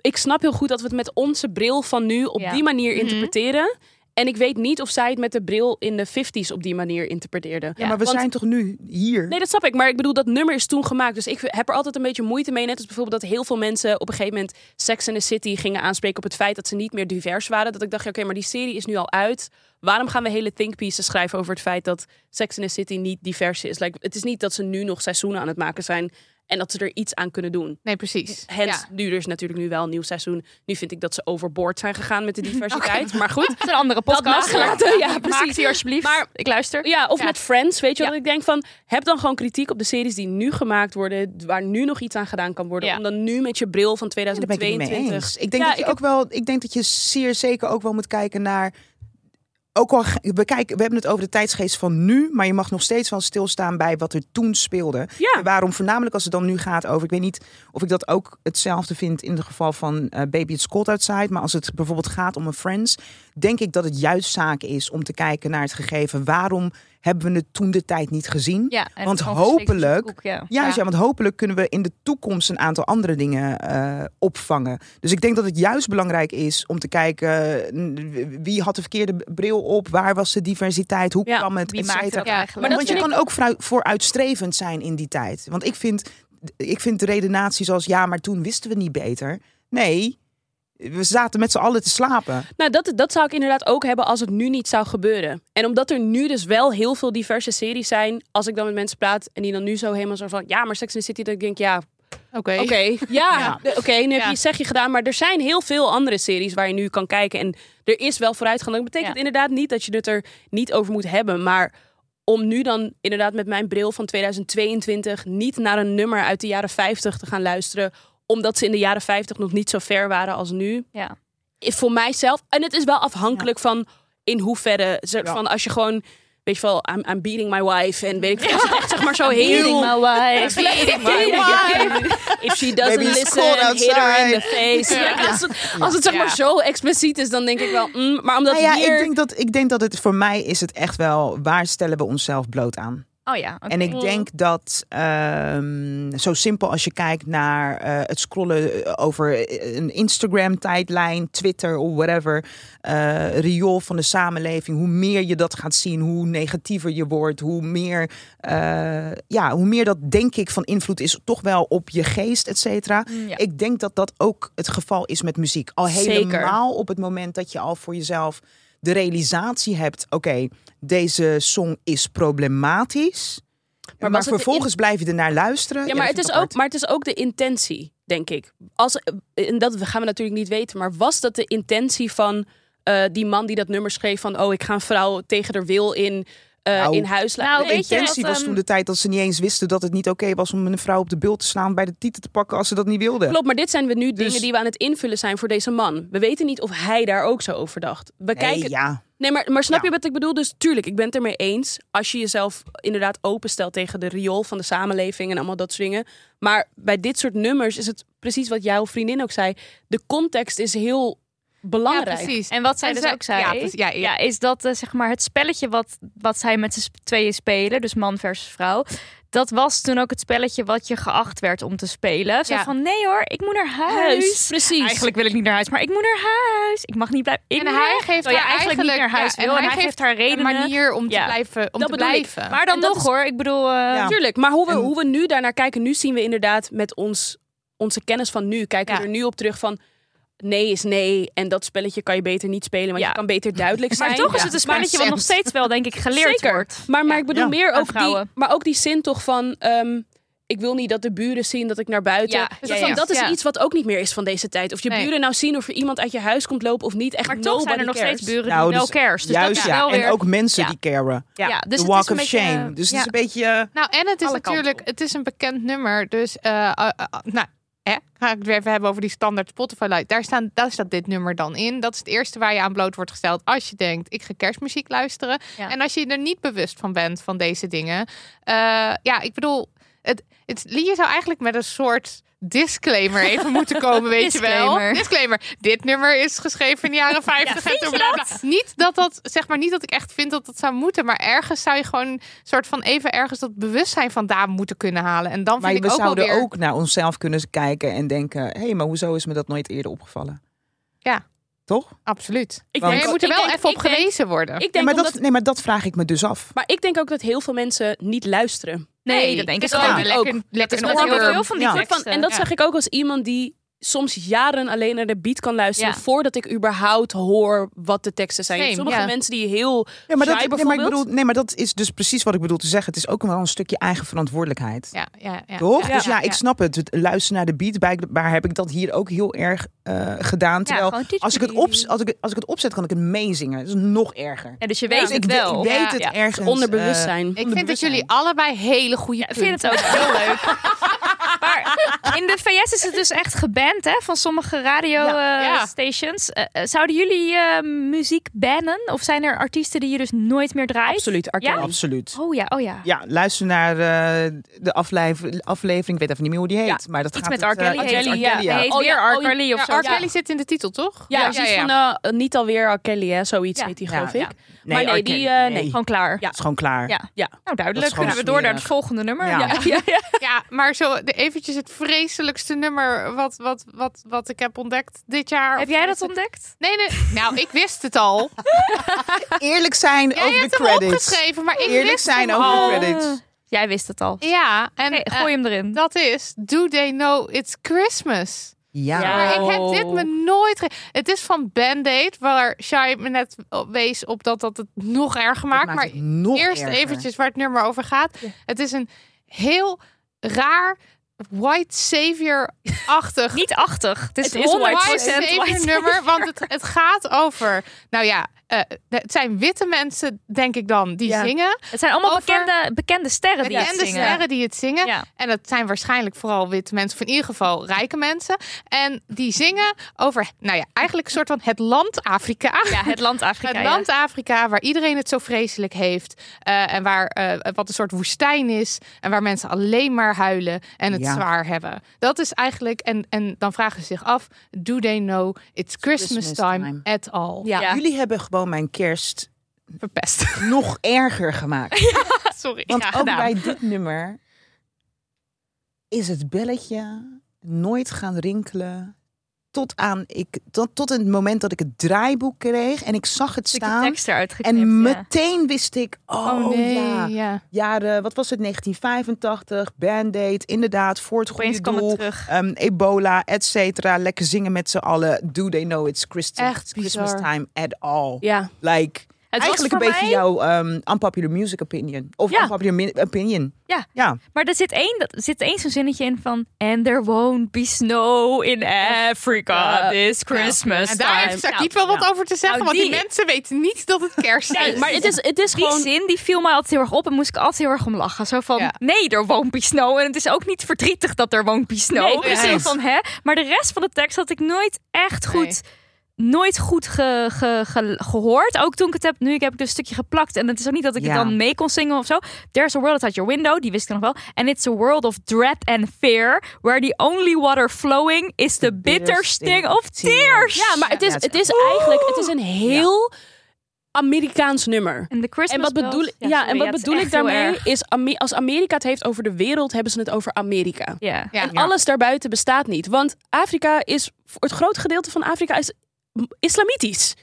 Ik snap heel goed dat we het met onze bril van nu op Ja. die manier Mhm. interpreteren. En ik weet niet of zij het met de bril in de 50s op die manier interpreteerde. Ja, maar we Want- zijn toch nu hier? Nee, dat snap ik. Maar ik bedoel, dat nummer is toen gemaakt. Dus ik heb er altijd een beetje moeite mee. Net als bijvoorbeeld dat heel veel mensen op een gegeven moment Sex in the City gingen aanspreken op het feit dat ze niet meer divers waren. Dat ik dacht, ja, oké, maar die serie is nu al uit. Waarom gaan we hele think pieces schrijven over het feit dat Sex in the City niet divers is? Like, het is niet dat ze nu nog seizoenen aan het maken zijn en dat ze er iets aan kunnen doen. Nee, precies. Hence, Ja. nu er is natuurlijk nu wel een nieuw seizoen. Nu vind ik dat ze overboord zijn gegaan met de diversiteit. Maar goed, Het is een andere dat mag podcast. maar laten. Ja, Maak precies. die alsjeblieft. Maar- ik luister. Ja, of Ja. met Friends, weet je Ja. wat ik denk van... heb dan gewoon kritiek op de series die nu gemaakt worden... waar nu nog iets aan gedaan kan worden. Ja. Om dan nu met je bril van Ja, daar ben ik het niet 2022... mee eens. Ik denk, Ja, dat je ik ook wel, ik denk dat je zeer zeker ook wel moet kijken naar... Ook al, ge- we, kijken, we hebben het over de tijdsgeest van nu, maar je mag nog steeds wel stilstaan bij wat er toen speelde. Ja. En waarom voornamelijk als het dan nu gaat over, ik weet niet of ik dat ook hetzelfde vind in het geval van eh, Baby It's Cold Outside, maar als het bijvoorbeeld gaat om een Friends, denk ik dat het juist zaak is om te kijken naar het gegeven waarom hebben we het toen de tijd niet gezien. Ja, en Want gewoon geschikt voor hopelijk- zo'n koek, ja. Juist, ja. want hopelijk kunnen we in de toekomst een aantal andere dingen eh, opvangen. Dus ik denk dat het juist belangrijk is om te kijken eh, wie had de verkeerde bril op, waar was de diversiteit, hoe Ja, kwam het, Wie et maakt cetera. dat eigenlijk? Maar Want je vind kan ook vrou- vooruitstrevend zijn in die tijd. Want ik vind, ik vind de redenatie zoals ja, maar toen wisten we niet beter. Nee, we zaten met z'n allen te slapen. Nou, dat, dat zou ik inderdaad ook hebben als het nu niet zou gebeuren. En omdat er nu dus wel heel veel diverse series zijn... als ik dan met mensen praat en die dan nu zo helemaal zo van... ja, maar Sex in the City, dat ik denk, ja, Oké. Oké, ja. Oké, nu heb Ja. je zeg je gedaan. Maar er zijn heel veel andere series waar je nu kan kijken. En er is wel vooruitgang. Dat betekent Ja. inderdaad niet dat je het er niet over moet hebben. Maar om nu dan inderdaad met mijn bril van 2022... niet naar een nummer uit de jaren 50 te gaan luisteren... omdat ze in de jaren 50 nog niet zo ver waren als nu. Ja. Is voor mijzelf... En het is wel afhankelijk van in hoeverre... ze- Ja. Van als je gewoon... Weet je wel, I'm, I'm beating my wife. En weet ik veel. Als het echt zeg maar zo heel... Beating my wife. If she doesn't Maybe it's listen, cold hit her in the outside. face. Ja, als, het, als het zeg maar zo expliciet is, dan denk ik wel... mm, maar omdat Nou ja, hier... ik, denk dat, ik denk dat het voor mij is het echt wel, waar stellen we onszelf bloot aan? Oh ja. oké. En Mm. ik denk dat ehm, zo simpel als je kijkt naar eh, het scrollen over eh, een Instagram-tijdlijn, Twitter of whatever, eh riool van de samenleving, hoe meer je dat gaat zien, hoe negatiever je wordt, hoe meer, eh, ja, hoe meer dat denk ik van invloed is, toch wel op je geest, et cetera. Mm, ja. Ik denk dat dat ook het geval is met muziek. Al Zeker. helemaal op het moment dat je al voor jezelf de realisatie hebt: oké, deze song is problematisch. Maar, was het de vervolgens blijf je ernaar luisteren. ja, maar, dat het vind is ik ook, apart. maar het is ook de intentie, denk ik. Als, eh, en dat gaan we natuurlijk niet weten. Maar was dat de intentie van eh, die man die dat nummer schreef... van, oh, ik ga een vrouw tegen haar wil in, eh, Nou, in huis laten... nou, Nee, De weet je intentie wat, was ehm, toen de tijd dat ze niet eens wisten dat het niet oké was om een vrouw op de bil te slaan bij de titel te pakken als ze dat niet wilden. Klopt, maar dit zijn we nu Dus- dingen die we aan het invullen zijn voor deze man. We weten niet of hij daar ook zo over dacht. We Nee, kijken, ja. Nee, maar, maar snap Ja. je wat ik bedoel? Dus tuurlijk, ik ben het ermee eens. Als je jezelf inderdaad openstelt tegen de riool van de samenleving en allemaal dat soort dingen. Maar bij dit soort nummers is het precies wat jouw vriendin ook zei. De context is heel Ja, belangrijk. precies. En wat zij En dus zij- ook zei, ja, precies. Ja, ja. ja, is dat eh, zeg maar het spelletje wat, wat zij met z'n sp- tweeën spelen, dus man versus vrouw, dat was toen ook het spelletje wat je geacht werd om te spelen. Zo Ja. van, nee hoor, ik moet naar huis. Huis, precies. Eigenlijk wil ik niet naar huis, maar ik moet naar huis. Ik mag niet blijven. Ik En moet hij naar- geeft haar Terwijl je eigenlijk niet eigenlijk- naar huis ja, wil. En hij, geeft haar Een redenen. manier om te Ja. blijven. Om Dat te bedoel ik. blijven. Maar dan En dat nog is- hoor, ik bedoel... eh, Ja. Tuurlijk, maar hoe we, En- hoe we nu daarnaar kijken, nu zien we inderdaad met ons, onze kennis van nu, kijken we Ja. er nu op terug van nee is nee en dat spelletje kan je beter niet spelen, want Ja. je kan beter duidelijk zijn. Maar toch is Ja. het een spelletje wat nog steeds wel, denk ik, geleerd Zeker. wordt. Maar, maar ik bedoel Ja. meer Aan ook die, vrouwen. maar ook die zin toch van... ehm, ik wil niet dat de buren zien dat ik naar buiten. Ja, Dus ja, van, ja. dat is Ja. iets wat ook niet meer is van deze tijd. Of je Nee. buren nou zien of er iemand uit je huis komt lopen of niet. Echt Maar toch zijn er nobody nog cares. steeds buren Nou, die wel dus kerst. Dus Juist dat is ja, wel weer... en ook mensen Ja. die caren. ja. dus de het is walk een of beetje, shame. eh, dus ja. het is een beetje... eh, Nou, en het is Alle kanten natuurlijk, op. het is een bekend nummer. Dus, eh, eh, eh, nou, hè, ga ik het weer even hebben over die standaard Spotify Lite. Daar, staan, daar staat dit nummer dan in. Dat is het eerste waar je aan bloot wordt gesteld als je denkt, ik ga kerstmuziek luisteren. Ja. En als je er niet bewust van bent, van deze dingen. eh, ja, ik bedoel, het, het liedje zou eigenlijk met een soort disclaimer even moeten komen, weet je wel. Disclaimer. Disclaimer. Dit nummer is geschreven in de jaren 50. en toen bla, bla. Niet dat dat, zeg maar, niet dat ik echt vind dat dat zou moeten, maar ergens zou je gewoon soort van even ergens dat bewustzijn vandaan moeten kunnen halen. En dan maar vind we ik ook wel zouden weer. ook naar onszelf kunnen kijken en denken... hé, hey, maar hoezo is me dat nooit eerder opgevallen? Ja. Toch? Absoluut. Ik Want- Maar je moet er ik wel denk- even op ik denk- gewezen worden. Ik Ja, denk maar, omdat dat, nee, maar dat vraag ik me dus af. Maar ik denk ook dat heel veel mensen niet luisteren. Nee, dat denk ik dat ook. denk lekker, lekker Dat een is met heel oorworm. veel van die Ja. Soort van- teksten. en dat ja. zeg ik ook als iemand die soms jaren alleen naar de beat kan luisteren Ja. voordat ik überhaupt hoor wat de teksten zijn. Same, Sommige ja. mensen die heel Ja, maar dat, shy nee, maar ik bijvoorbeeld. bedoel, nee, maar dat is dus precies wat ik bedoel te zeggen. Het is ook wel een stukje eigen verantwoordelijkheid. Ja, ja, ja. Toch? dus ja, ja. ik snap het. Het luisteren naar de beat, bij- waar heb ik dat hier ook heel erg eh, gedaan. Terwijl, gewoon tjitjitjit. als, ik het op, als, ik, het- als ik het opzet, kan ik het meezingen. Dat is nog erger. Ja, dus je Ja, weet dus het ik, wel. Ik weet Ja, het ja. ergens. eh, onderbewustzijn. Ik vind dat onderbewustzijn. jullie allebei hele goede Ik vind het ook heel leuk. Maar in de VS is het dus echt geband hè, van sommige Ja. radiostations. zouden jullie eh, muziek bannen? Of zijn er artiesten die je dus nooit meer draait? Absoluut, R. Kelly. Ja? Absoluut. Oh ja, oh ja. Ja, luister naar eh, de aflever- aflevering. Ik weet even niet meer hoe die heet. maar dat Iets gaat met het, R. Kelly eh, heet iets met het. R. Kelly, Ja, Nee, ja. heet Oh weer ja, R. oh ja. Kelly of Ja, zo. R. Kelly zit in de titel, toch? Ja, precies van eh, niet alweer R. Kelly, hè? Zoiets Ja. heet die, Ja, geloof ja. ik. Nee, Maar nee, R. Kelly, die, eh, nee. nee. Gewoon klaar. Het is gewoon klaar. Ja. Nou, Dat is duidelijk. gewoon Kunnen we door naar het smerig. volgende nummer? Ja. ja, ja. Ja, maar zo de, eventjes het vreselijkste nummer wat, wat, wat, wat ik heb ontdekt dit jaar. Heb jij dat ontdekt? Nee, nee. Nou, ik wist het al. Eerlijk zijn Jij over de hebt hem credits. opgeschreven, maar ik Eerlijk wist zijn hem over al. de credits. Jij wist het al. Ja, en Oké, eh, gooi hem erin. dat is Do They Know It's Christmas? Ja. Ja. Maar ik heb dit Oh. me nooit... ge- Het is van Band-Aid, waar Shai me net op wees op dat dat het nog erger maakt. maakt maar het nog eerst erger. eventjes waar het nummer over gaat. Het is een heel raar white savior-achtig... Niet 80. Dit is Het is 100% white white white savior nummer, want het, het gaat over... Nou ja, eh, het zijn witte mensen, denk ik dan, die Ja. zingen. Het zijn allemaal Over- bekende, bekende sterren die het En de zingen. sterren die het zingen. Ja. En dat zijn waarschijnlijk vooral witte mensen, of in ieder geval rijke mensen. En die zingen over, nou ja, eigenlijk een soort van het land Afrika. Ja, het land Afrika. Het ja. land Afrika, waar iedereen het zo vreselijk heeft. eh, en waar eh, wat een soort woestijn is. En waar mensen alleen maar huilen en het Ja. zwaar hebben. Dat is eigenlijk. En, en dan vragen ze zich af: do they know it's Christmas, Christmas time, time. at all? Ja. Ja. Jullie hebben gewoon mijn kerst Verpest. nog erger gemaakt. Sorry. Want Ja, ook gedaan. bij dit nummer is het belletje nooit gaan rinkelen. Tot, aan ik, tot, tot het moment dat ik het draaiboek kreeg en ik zag het Stukje staan. tekst eruit geknipt, En ja. meteen wist ik, oh, Oh nee. ja, ja. jaren, wat was het, 1985, Band-Aid, inderdaad, voor het goede Opeens kwam het doel, terug. ehm, ebola, et cetera, lekker zingen met z'n allen, do they know it's Christmas, Echt Christmas bizar. time at all. Ja. Like, was eigenlijk een voor beetje mij- jouw ehm, unpopular music opinion. Of Ja. unpopular mi- opinion. Ja. ja. Maar er zit één, dat- zit één zo'n zinnetje in van... And there won't be snow in Africa this Christmas En daar heeft time." Sakiet wel wat nou, over te zeggen, nou, want die, die- mensen weten niet dat het kerst is. Nee, maar het is, Dus het is Die gewoon... zin die viel mij altijd heel erg op en moest ik altijd heel erg om lachen. Zo van, Ja. nee, er won't be snow. En het is ook niet verdrietig dat er won't be snow. Nee, Dus precies. zo van, hè? Maar de rest van de tekst had ik nooit echt goed, nooit goed ge- ge- ge- gehoord. Ook toen ik het heb, nu ik heb ik dus een stukje geplakt. En het is ook niet dat ik Ja. het dan mee kon zingen of zo. There's a world outside your window, die wist ik nog wel. And it's a world of dread and fear, where the only water flowing is the bitter sting of tears. Ja, maar het is, het is eigenlijk... Het is een heel Amerikaans nummer. En de En Christmas wat bedoel, bells- ja, sorry, en wat het is bedoel ik echt heel daarmee erg. is, Ame- als Amerika het heeft over de wereld, hebben ze het over Amerika. Ja. Ja. En alles daarbuiten bestaat niet. Want Afrika is, voor het groot gedeelte van Afrika is m- islamitisch.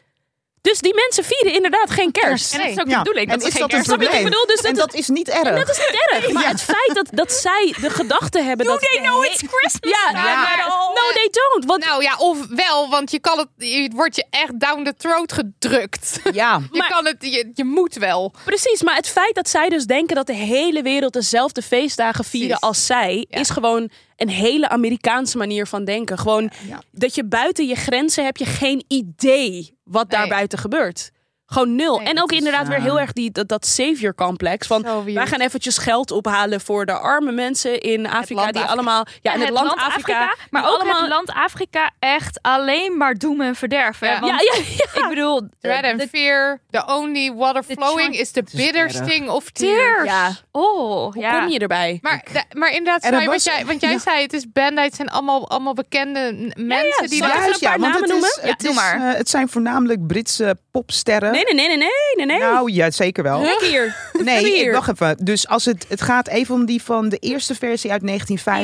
Dus die mensen vieren inderdaad geen kerst. En dat is ook Ja. de bedoeling. en dat ze is geen dat een kerst- Snap je wat probleem? ik bedoel? Dus en dat dat is niet erg. Dat is niet erg, maar het feit dat, dat zij de gedachte hebben dat... they know it's Christmas Ja, time ja. at all. No, they don't. Want Nou ja, of wel, want je kan het, je wordt je echt down the throat gedrukt. Ja. Je, Maar- kan het, je, je moet wel. Precies, maar het feit dat zij dus denken dat de hele wereld dezelfde feestdagen vieren Precies. als zij, Ja. is gewoon een hele Amerikaanse manier van denken. Gewoon Ja. dat je buiten je grenzen heb je geen idee wat daar buiten gebeurt. Gewoon nul. Nee, en dat ook inderdaad weer heel erg die, dat, dat savior complex. Van Zo weird. wij gaan eventjes geld ophalen voor de arme mensen in Afrika. land Die Afrika. allemaal. Ja, in het, land, Afrika. maar die ook allemaal. het land Afrika echt alleen maar doemen en verderven. Ja. Want ja, ja, ja. ik bedoel, Dread and fear, the only water flowing is the bitter erg. sting of tears. tears. Oh, Hoe ja. kom je erbij? Maar, da- maar inderdaad, En er Sai, wat was- jij, want jij ja. zei, het is Bandits en allemaal, allemaal bekende n- mensen die zal ik daar... er een paar want namen het is- noemen? Ja, het doe is, maar. eh, het zijn voornamelijk Britse popsterren. Nee, nee, nee, nee, nee, nee, nee. Nou, ja, zeker wel. Kijk hier. Nee, Hier. ik- wacht even. Dus als het, het gaat even om die van de eerste versie uit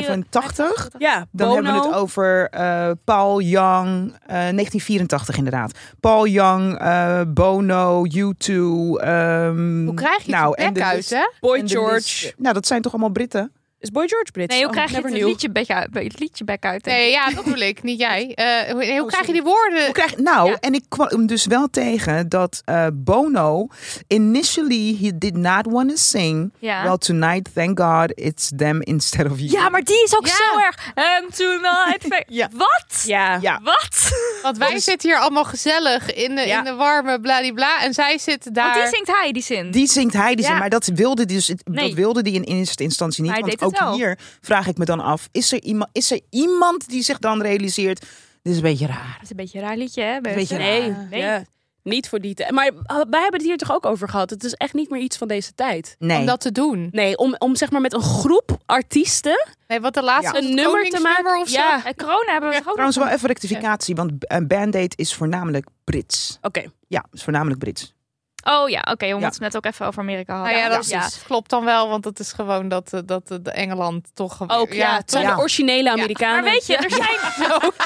1985. Ja, Dan Bono. hebben we het over eh, Paul Young, eh, 1984 inderdaad. Paul Young, eh, Bono, U2. ehm, Hoe krijg je nou, het en bek de uit, list- hè? Boy en de George. list- Nou, dat zijn toch allemaal Britten? Is Boy George Brits? Nee, hoe Oh, krijg je het never knew. liedje back uit? Het liedje back uit denk ik. Nee, ja, dat bedoel ik, niet jij. Eh, hoe hoe krijg je sorry. die woorden? Hoe krijg, nou, Ja. en ik kwam hem dus wel tegen dat eh, Bono... Initially, he did not want to sing. Ja. Well, tonight, thank God, it's them instead of you. Ja, maar die is ook Ja. zo erg. Um, tonight. Ja. Wat? Ja. Ja. Wat? Want wij Dus- zitten hier allemaal gezellig in de, Ja. in de warme bladibla. En zij zitten daar. Want die zingt hij, die zin. Die zingt hij die zin, Ja. maar dat wilde die dus Nee. dat wilde die in eerste instantie niet. Maar hij want deed het ook wel. hier vraag ik me dan af: is er iemand, is er iemand die zich dan realiseert? Dit is een beetje raar. Dat is een beetje een raar liedje, hè? Bert? Beetje raar. Nee, Nee. ja. niet voor die tijd. Maar uh, wij hebben het hier toch ook over gehad. Het is echt niet meer iets van deze tijd. Nee. Om dat te doen. Nee, om, om zeg maar met een groep artiesten. Nee, wat de laatste Ja. was Een het nummer te maken. Koningsnummer of zo. Ja. Eh, corona hebben we toch ook Trouwens, nog- wel even rectificatie, want een band-aid is voornamelijk Brits. Oké, Ja, is voornamelijk Brits. Oh ja, oké. we moeten het net ook even over Amerika hadden. Nou ja, dat ja. klopt dan wel, want het is gewoon dat, eh, dat eh, de Engeland toch... ook ja. het zijn Ja. de originele Amerikanen. Maar weet je, er zijn...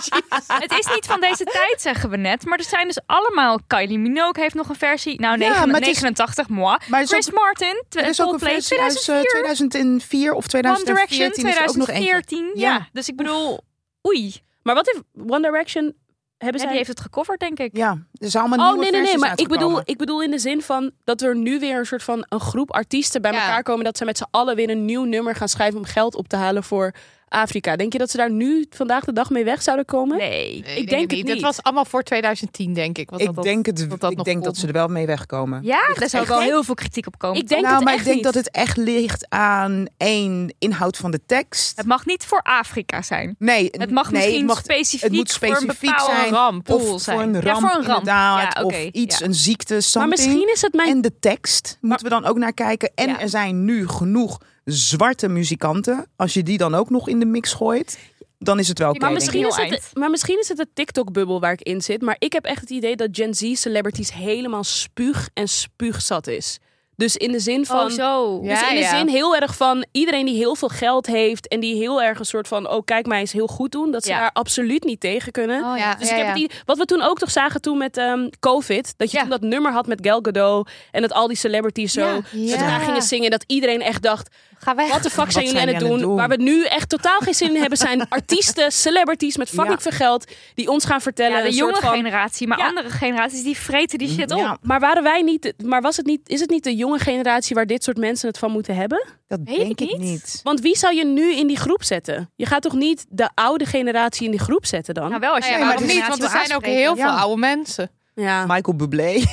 het is niet van deze tijd, zeggen we net. Maar er zijn dus allemaal... Kylie Minogue heeft nog een versie. Nou, Ja, negen- maar het is- 89, moi. Maar er is Chris ook- Martin, tw- Er is ook een Coldplay, versie uit eh, 2004. 2004 of One 2014. Direction, is er ook nog eentje. 2014. Ja. Ja. dus ik bedoel... Oei, Maar wat heeft One Direction... Hebben die zij... heeft het gecoverd, denk ik. Ja, er zijn allemaal Oh nieuwe nee, nee, nee, versies maar ik bedoel, uitgekomen. ik bedoel in de zin van dat er nu weer een soort van een groep artiesten bij Ja. elkaar komen. Dat ze met z'n allen weer een nieuw nummer gaan schrijven om geld op te halen voor Afrika. Denk je dat ze daar nu vandaag de dag mee weg zouden komen? Nee. Ik, denk denk het het niet. niet. Dit was allemaal voor 2010, denk ik. Want Ik dat- dat- denk, het, dat dat ik nog denk kon. dat ze er wel mee wegkomen. Ja, daar zou echt wel niet. heel veel kritiek op komen. Ik denk nou, het maar echt ik denk niet. dat het echt ligt aan één inhoud van de tekst. Het mag niet voor Afrika zijn. Nee, Het mag nee, misschien het mag- specifiek, het moet voor een specifiek bepaalde zijn ramp. of doel zijn. voor een ramp, ja, voor een ramp. inderdaad, Ja, oké, of iets, ja. een ziekte, Maar something. misschien is het mijn En de tekst moeten we dan ook naar kijken. En Ja. er zijn nu genoeg zwarte muzikanten. Als je die dan ook nog in de mix gooit, dan is het wel oké. Maar denk misschien, ik. is Heel het, eind. maar misschien is het de TikTok-bubbel waar ik in zit. Maar ik heb echt het idee dat Gen Z-celebrities helemaal spuug en spuugzat is. Dus in de zin van... Oh, zo. Ja. Dus in de zin heel erg van iedereen die heel veel geld heeft... en die heel erg een soort van, oh kijk mij eens heel goed doen... dat ze Ja. daar absoluut niet tegen kunnen. Oh, Ja, ja. Dus ja, ik heb ja. het idee- wat we toen ook toch zagen toen met ehm, COVID... dat je Ja. toen dat nummer had met Gal Gadot... en dat al die celebrities zo Ja. zodra gingen zingen... dat iedereen echt dacht, Ga weg. wat de fuck zijn Wat jullie aan het doen? Waar we nu echt totaal geen zin in hebben, zijn artiesten, celebrities met fucking Ja. veel geld die ons gaan vertellen. Ja, de een jonge soort van, generatie, maar Ja. andere generaties die vreten die shit op. Ja, Maar waren wij niet? Maar was het niet? Is het niet de jonge generatie waar dit soort mensen het van moeten hebben? dat Weet denk ik ik niet. niet. Want wie zou je nu in die groep zetten? Je gaat toch niet de oude generatie in die groep zetten dan? Nou, wel als Oh Ja, je ja, een maar andere niet, generatie want er wil zijn ook aanspreken. heel veel Ja. oude mensen. ja. Michael Bublé.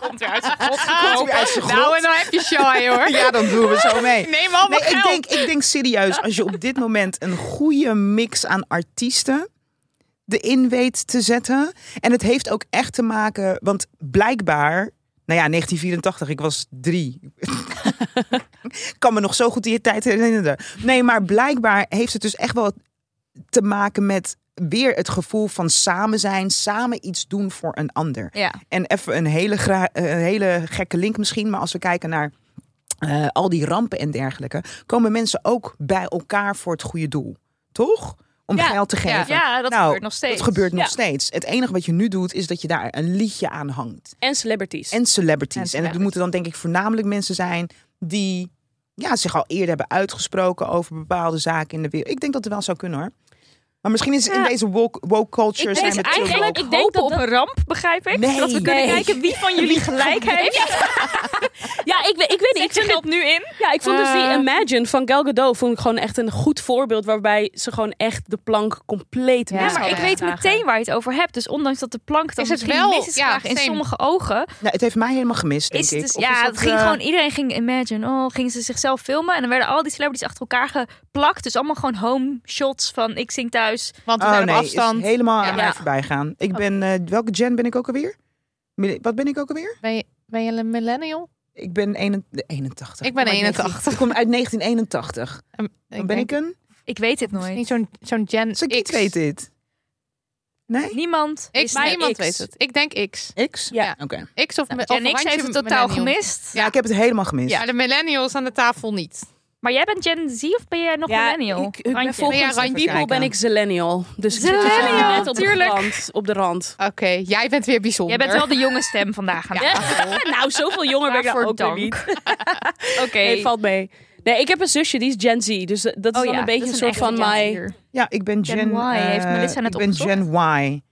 Komt weer uit zijn grot. Nou, en dan heb je Shai, hoor. Ja, dan doen we zo mee. Neem allemaal Nee, ik geld. denk, ik denk serieus, als je op dit moment een goede mix aan artiesten erin weet te zetten. En het heeft ook echt te maken, want blijkbaar, nou ja, 1984, ik was drie. Ik kan me nog zo goed die tijd herinneren. Nee, maar blijkbaar heeft het dus echt wel te maken met weer het gevoel van samen zijn, samen iets doen voor een ander. Ja. En even een hele, gra- eh, een hele gekke link misschien, maar als we kijken naar eh, al die rampen en dergelijke, komen mensen ook bij elkaar voor het goede doel. Toch? om Ja, geld te ja. geven. Ja, dat Nou, gebeurt nog steeds. Dat gebeurt nog Ja. steeds. Het enige wat je nu doet is dat je daar een liedje aan hangt. En celebrities. En celebrities. En, En het moeten dan denk ik voornamelijk mensen zijn die ja, zich al eerder hebben uitgesproken over bepaalde zaken in de wereld. Ik denk dat het wel zou kunnen hoor. Maar misschien is in Ja. deze woke, woke culture Het zijn is we te eigenlijk woke. ik denk hopen op op een ramp, begrijp ik. Nee. Dat we kunnen Nee. kijken wie van jullie gelijk heeft. Ja, ik, weet- ik weet niet. Ik Ik vind het- geld nu in. Ja, ik vond dus die Eh. Imagine van Gal Gadot vond ik gewoon echt een goed voorbeeld waarbij ze gewoon echt de plank compleet Ja, Ja, mis maar ik hadden weet geslagen. meteen waar je het over hebt. Dus ondanks dat de plank dan Is het misschien wel- mis is ja, geslagen in same. sommige ogen, Nou, het heeft mij helemaal gemist, denk is het ik. dus, Of ja, is dat, het ging eh, gewoon, iedereen ging imagine, oh, gingen ze zichzelf filmen en dan werden al die celebrities achter elkaar geplakt. Dus allemaal gewoon home shots van ik zing thuis. Want we Oh zijn nee, op is afstand. helemaal Ja. Oh. aan mij voorbij gaan. Ik ben, eh, welke gen ben ik ook alweer? Mille- Wat ben ik ook alweer? Ben, je, ben je een millennial? Ik ben 81. 81. Ik ben Kom uit 81. 19- Oh Ik kom uit 1981. Ehm, Dan ben ik een? Ik weet dit nooit. Niet zo'n zo'n Gen Sagitt X. weet dit. Nee? Niemand Ik, is maar net iemand X. weet het. Ik denk X. X? Ja. Oké. X of... me- of Gen X randje heeft het totaal millennial. gemist. Ja, ik heb het helemaal gemist. Ja, de millennials aan de tafel niet. Maar jij bent Gen Z of ben jij nog Ja, millennial? ik- ik ben Randje. volgens Ja, Randje. People ben ik Zillennial. Dus ik zit Zillennial, waarschijnlijk net op tuurlijk. de rand. Op de rand. Oké, jij bent weer Jij bijzonder. bent wel de jonge stem vandaag aan de Ja. nou, zoveel jonger ben ik daar Waarvoor ook weer dank. niet. tafel. Oké. Nee, valt mee. Nee, ik heb een zusje, die is Gen Z. Dus dat is Oh dan ja, een beetje dat een is soort echt van Gen my... Zer. Ja, ik ben Gen Gen... Y. Heeft eh, Melissa net Ik ben opgezocht? Gen Y.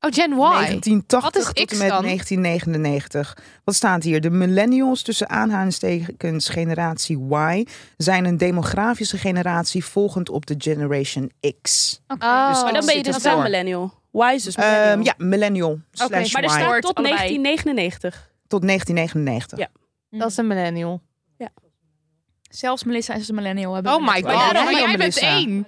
Oh, Gen Y. 1980 Wat is tot en X met dan? 1999. Wat staat hier? De millennials tussen aanhalingstekens generatie Y... zijn een demografische generatie volgend op de Generation X. Oh, Maar dan ben je zit dus het wel voor. millennial. Why is dus millennial. Ehm, ja, millennial slash Maar er Y staat Hoort tot allebei. 1999. tot 1999. Ja. dat is een millennial. Zelfs Melissa is een millennial. hebben we Oh my net god, gehoord. maar daarom ben je jij bent Melissa. één.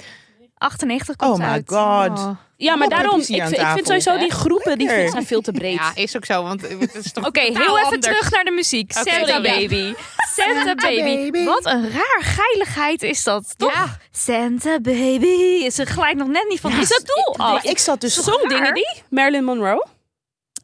98 komt Oh my uit. god. Oh. Ja, maar Wat daarom, ik, repetitie aan vind- ik vind tafel, sowieso hè? die groepen, die Lekker. vind ik veel te breed. Ja, is ook zo, want het is toch Oké, heel totaal even anders. terug naar de muziek. Oké, Santa sorry, ja. Baby. Santa Baby. Baby. Wat een raar geiligheid is dat, toch? Santa Baby. Ze glijdt nog net niet van Is dat doel Oh. af? Oh, Maar ik zat dus... Zong dingen die? Marilyn Monroe?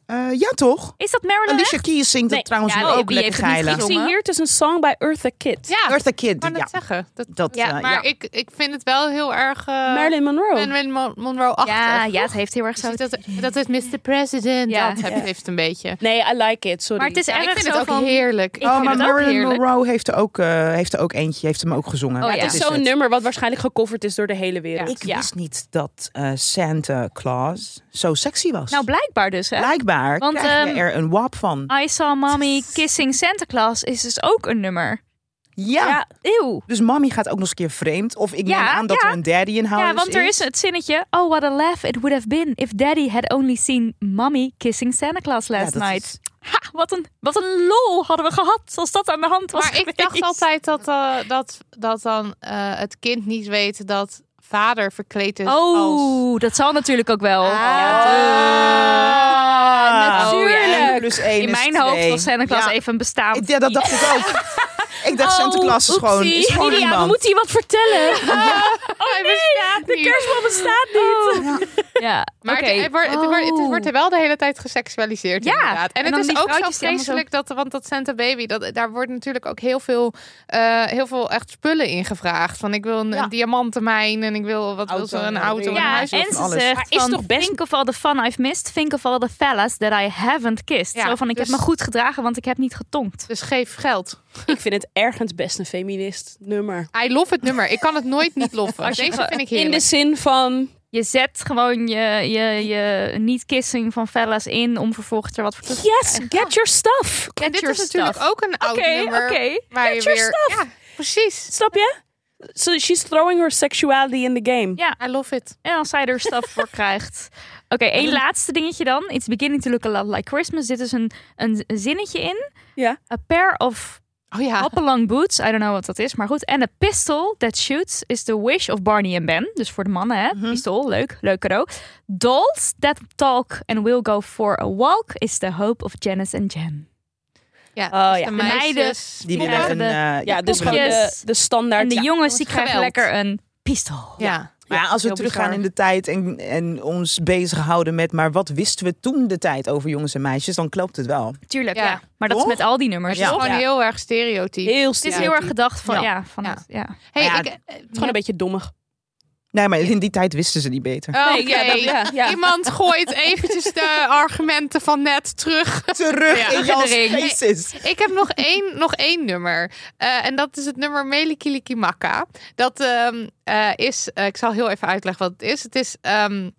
Eh, ja, toch? Is dat Marilyn Alicia Keys zingt Nee, dat trouwens ja, nu nee, ook wie lekker heeft het niet geilen. Ik gezien? zie Jongen. hier, het is een song by Eartha Kitt. Ja, Eartha Kid, ik kan ja. het zeggen. Dat, Dat, Ja, eh, maar ja. ik, ik vind het wel heel erg... eh, Marilyn Monroe. Marilyn Mon- Monroe-achtig. Ja, ja, het heeft heel erg zo. Dus dat, dat is Mr. President. Ja. Dat heb- heeft het een beetje. Nee, I like it, sorry. Maar het is Ja, ik erg vind zo het ook van... heerlijk. Ik Oh, vind maar het ook Marilyn heerlijk. Monroe heeft er, ook, eh, heeft er ook eentje, heeft hem ook gezongen. Oh, Dat ja. het is is zo'n het. nummer wat waarschijnlijk gecoverd is door de hele wereld. Ik wist niet dat eh, Santa Claus zo sexy was. Nou, blijkbaar dus, hè? Blijkbaar Want, krijg je ehm, er een wap van. I Saw Mommy Kissing Santa Claus is dus ook een nummer. Ja. ja. Eeuw. Dus mami gaat ook nog eens een keer vreemd. Of ik Ja, neem aan dat ja. er een daddy in Nou, huis Ja, dus want er is het zinnetje... Oh, what a laugh it would have been if daddy had only seen mommy kissing Santa Claus Ja, last dat night. is- Ha, wat een, wat een lol hadden we gehad als dat aan de hand was Maar ik dacht geweest. altijd dat, eh, dat, dat dan eh, het kind niet weet dat vader verkleed is als... Oh, dat zal natuurlijk ook wel. Oh, Oh, Ah, Ah. natuurlijk. één plus één In is mijn hoofd twee. was Santa Claus Ja. even een bestaand. Ik- Ja, dat dacht ik ook. Ik dacht, Santa Claus is oepsie. gewoon, is gewoon Lydia, we iemand. moeten je wat vertellen. Oh, Hij bestaat De niet. kerstman bestaat niet. Ja, Maar oké. het, het wordt, het, wordt, het Oh. wordt er wel de hele tijd geseksualiseerd Ja, inderdaad. en En, dan het die is ook zo vrouwtjes die allemaal zo- vreselijk, dat, want dat Santa Baby, dat, daar wordt natuurlijk ook heel veel, eh, heel veel echt spullen in gevraagd. Van ik wil een, Ja. een diamantenmijn en ik wil wat wil ze, Auto, een ja, auto en dingen. een Ja, en huis. van ze alles. zegt Maar is van, toch best- think of all the fun I've missed, think of all the fellas that I haven't kissed. Ja, Zo van, ik dus- heb me goed gedragen, want ik heb niet getonkt. Dus geef geld. Ik vind het ergens best een feminist nummer. I love het nummer. Ik kan het nooit niet loffen. Als je Deze ge- vind ik In de heerlijk. zin van... Je zet gewoon je, je, je niet-kissing van fellas in om vervolgens er wat voor te Yes, get your stuff. Get Dit your is natuurlijk stuff. ook een oud Oké, nummer. oké. Waar je Get your weer, Ja, precies. Snap je? So she's throwing her sexuality in the game. Ja, I love it. en als zij er stuff voor krijgt. Oké, één laatste dingetje dan. It's beginning to look a lot like Christmas. Dit is een, een zinnetje in. Ja. A pair of Oh ja. Hopalong boots, I don't know wat dat is, maar goed. En de pistol that shoots is the wish of Barney and Ben. Dus voor de mannen, hè? Pistool, leuk, leuk cadeau. Dolls that talk and will go for a walk is the hope of Janice and Jen. ja. Oh dus ja. De De meisjes. Die Ja. willen een... eh, Ja, dus gewoon de, Poppetjes. de standaard. en de ja. jongens die krijgen geweld. lekker een pistool. Ja. Maar ja, als we heel teruggaan bizar. in de tijd en, en ons bezighouden met... maar wat wisten we toen de tijd over jongens en meisjes, dan klopt het wel. Tuurlijk, ja. Ja. Maar dat Toch? is met al die nummers. Het is toch? gewoon Ja. heel erg stereotyp. Heel Het is stereotyp. heel erg gedacht van, ja, Ja. van, het- ja. Hey, Ja, ik, eh, Het is gewoon een beetje dommig. Nee, maar in die tijd wisten ze niet beter. Oké. Nee, ja, dat- ja, ja. Iemand gooit eventjes de argumenten van net terug. Terug Ja. in Jans Herinnering. Geesis. Ik heb nog één, nog één nummer. Eh, en dat is het nummer Melikilikimaka. Dat ehm, eh, is, eh, ik zal heel even uitleggen wat het is. Het is ehm,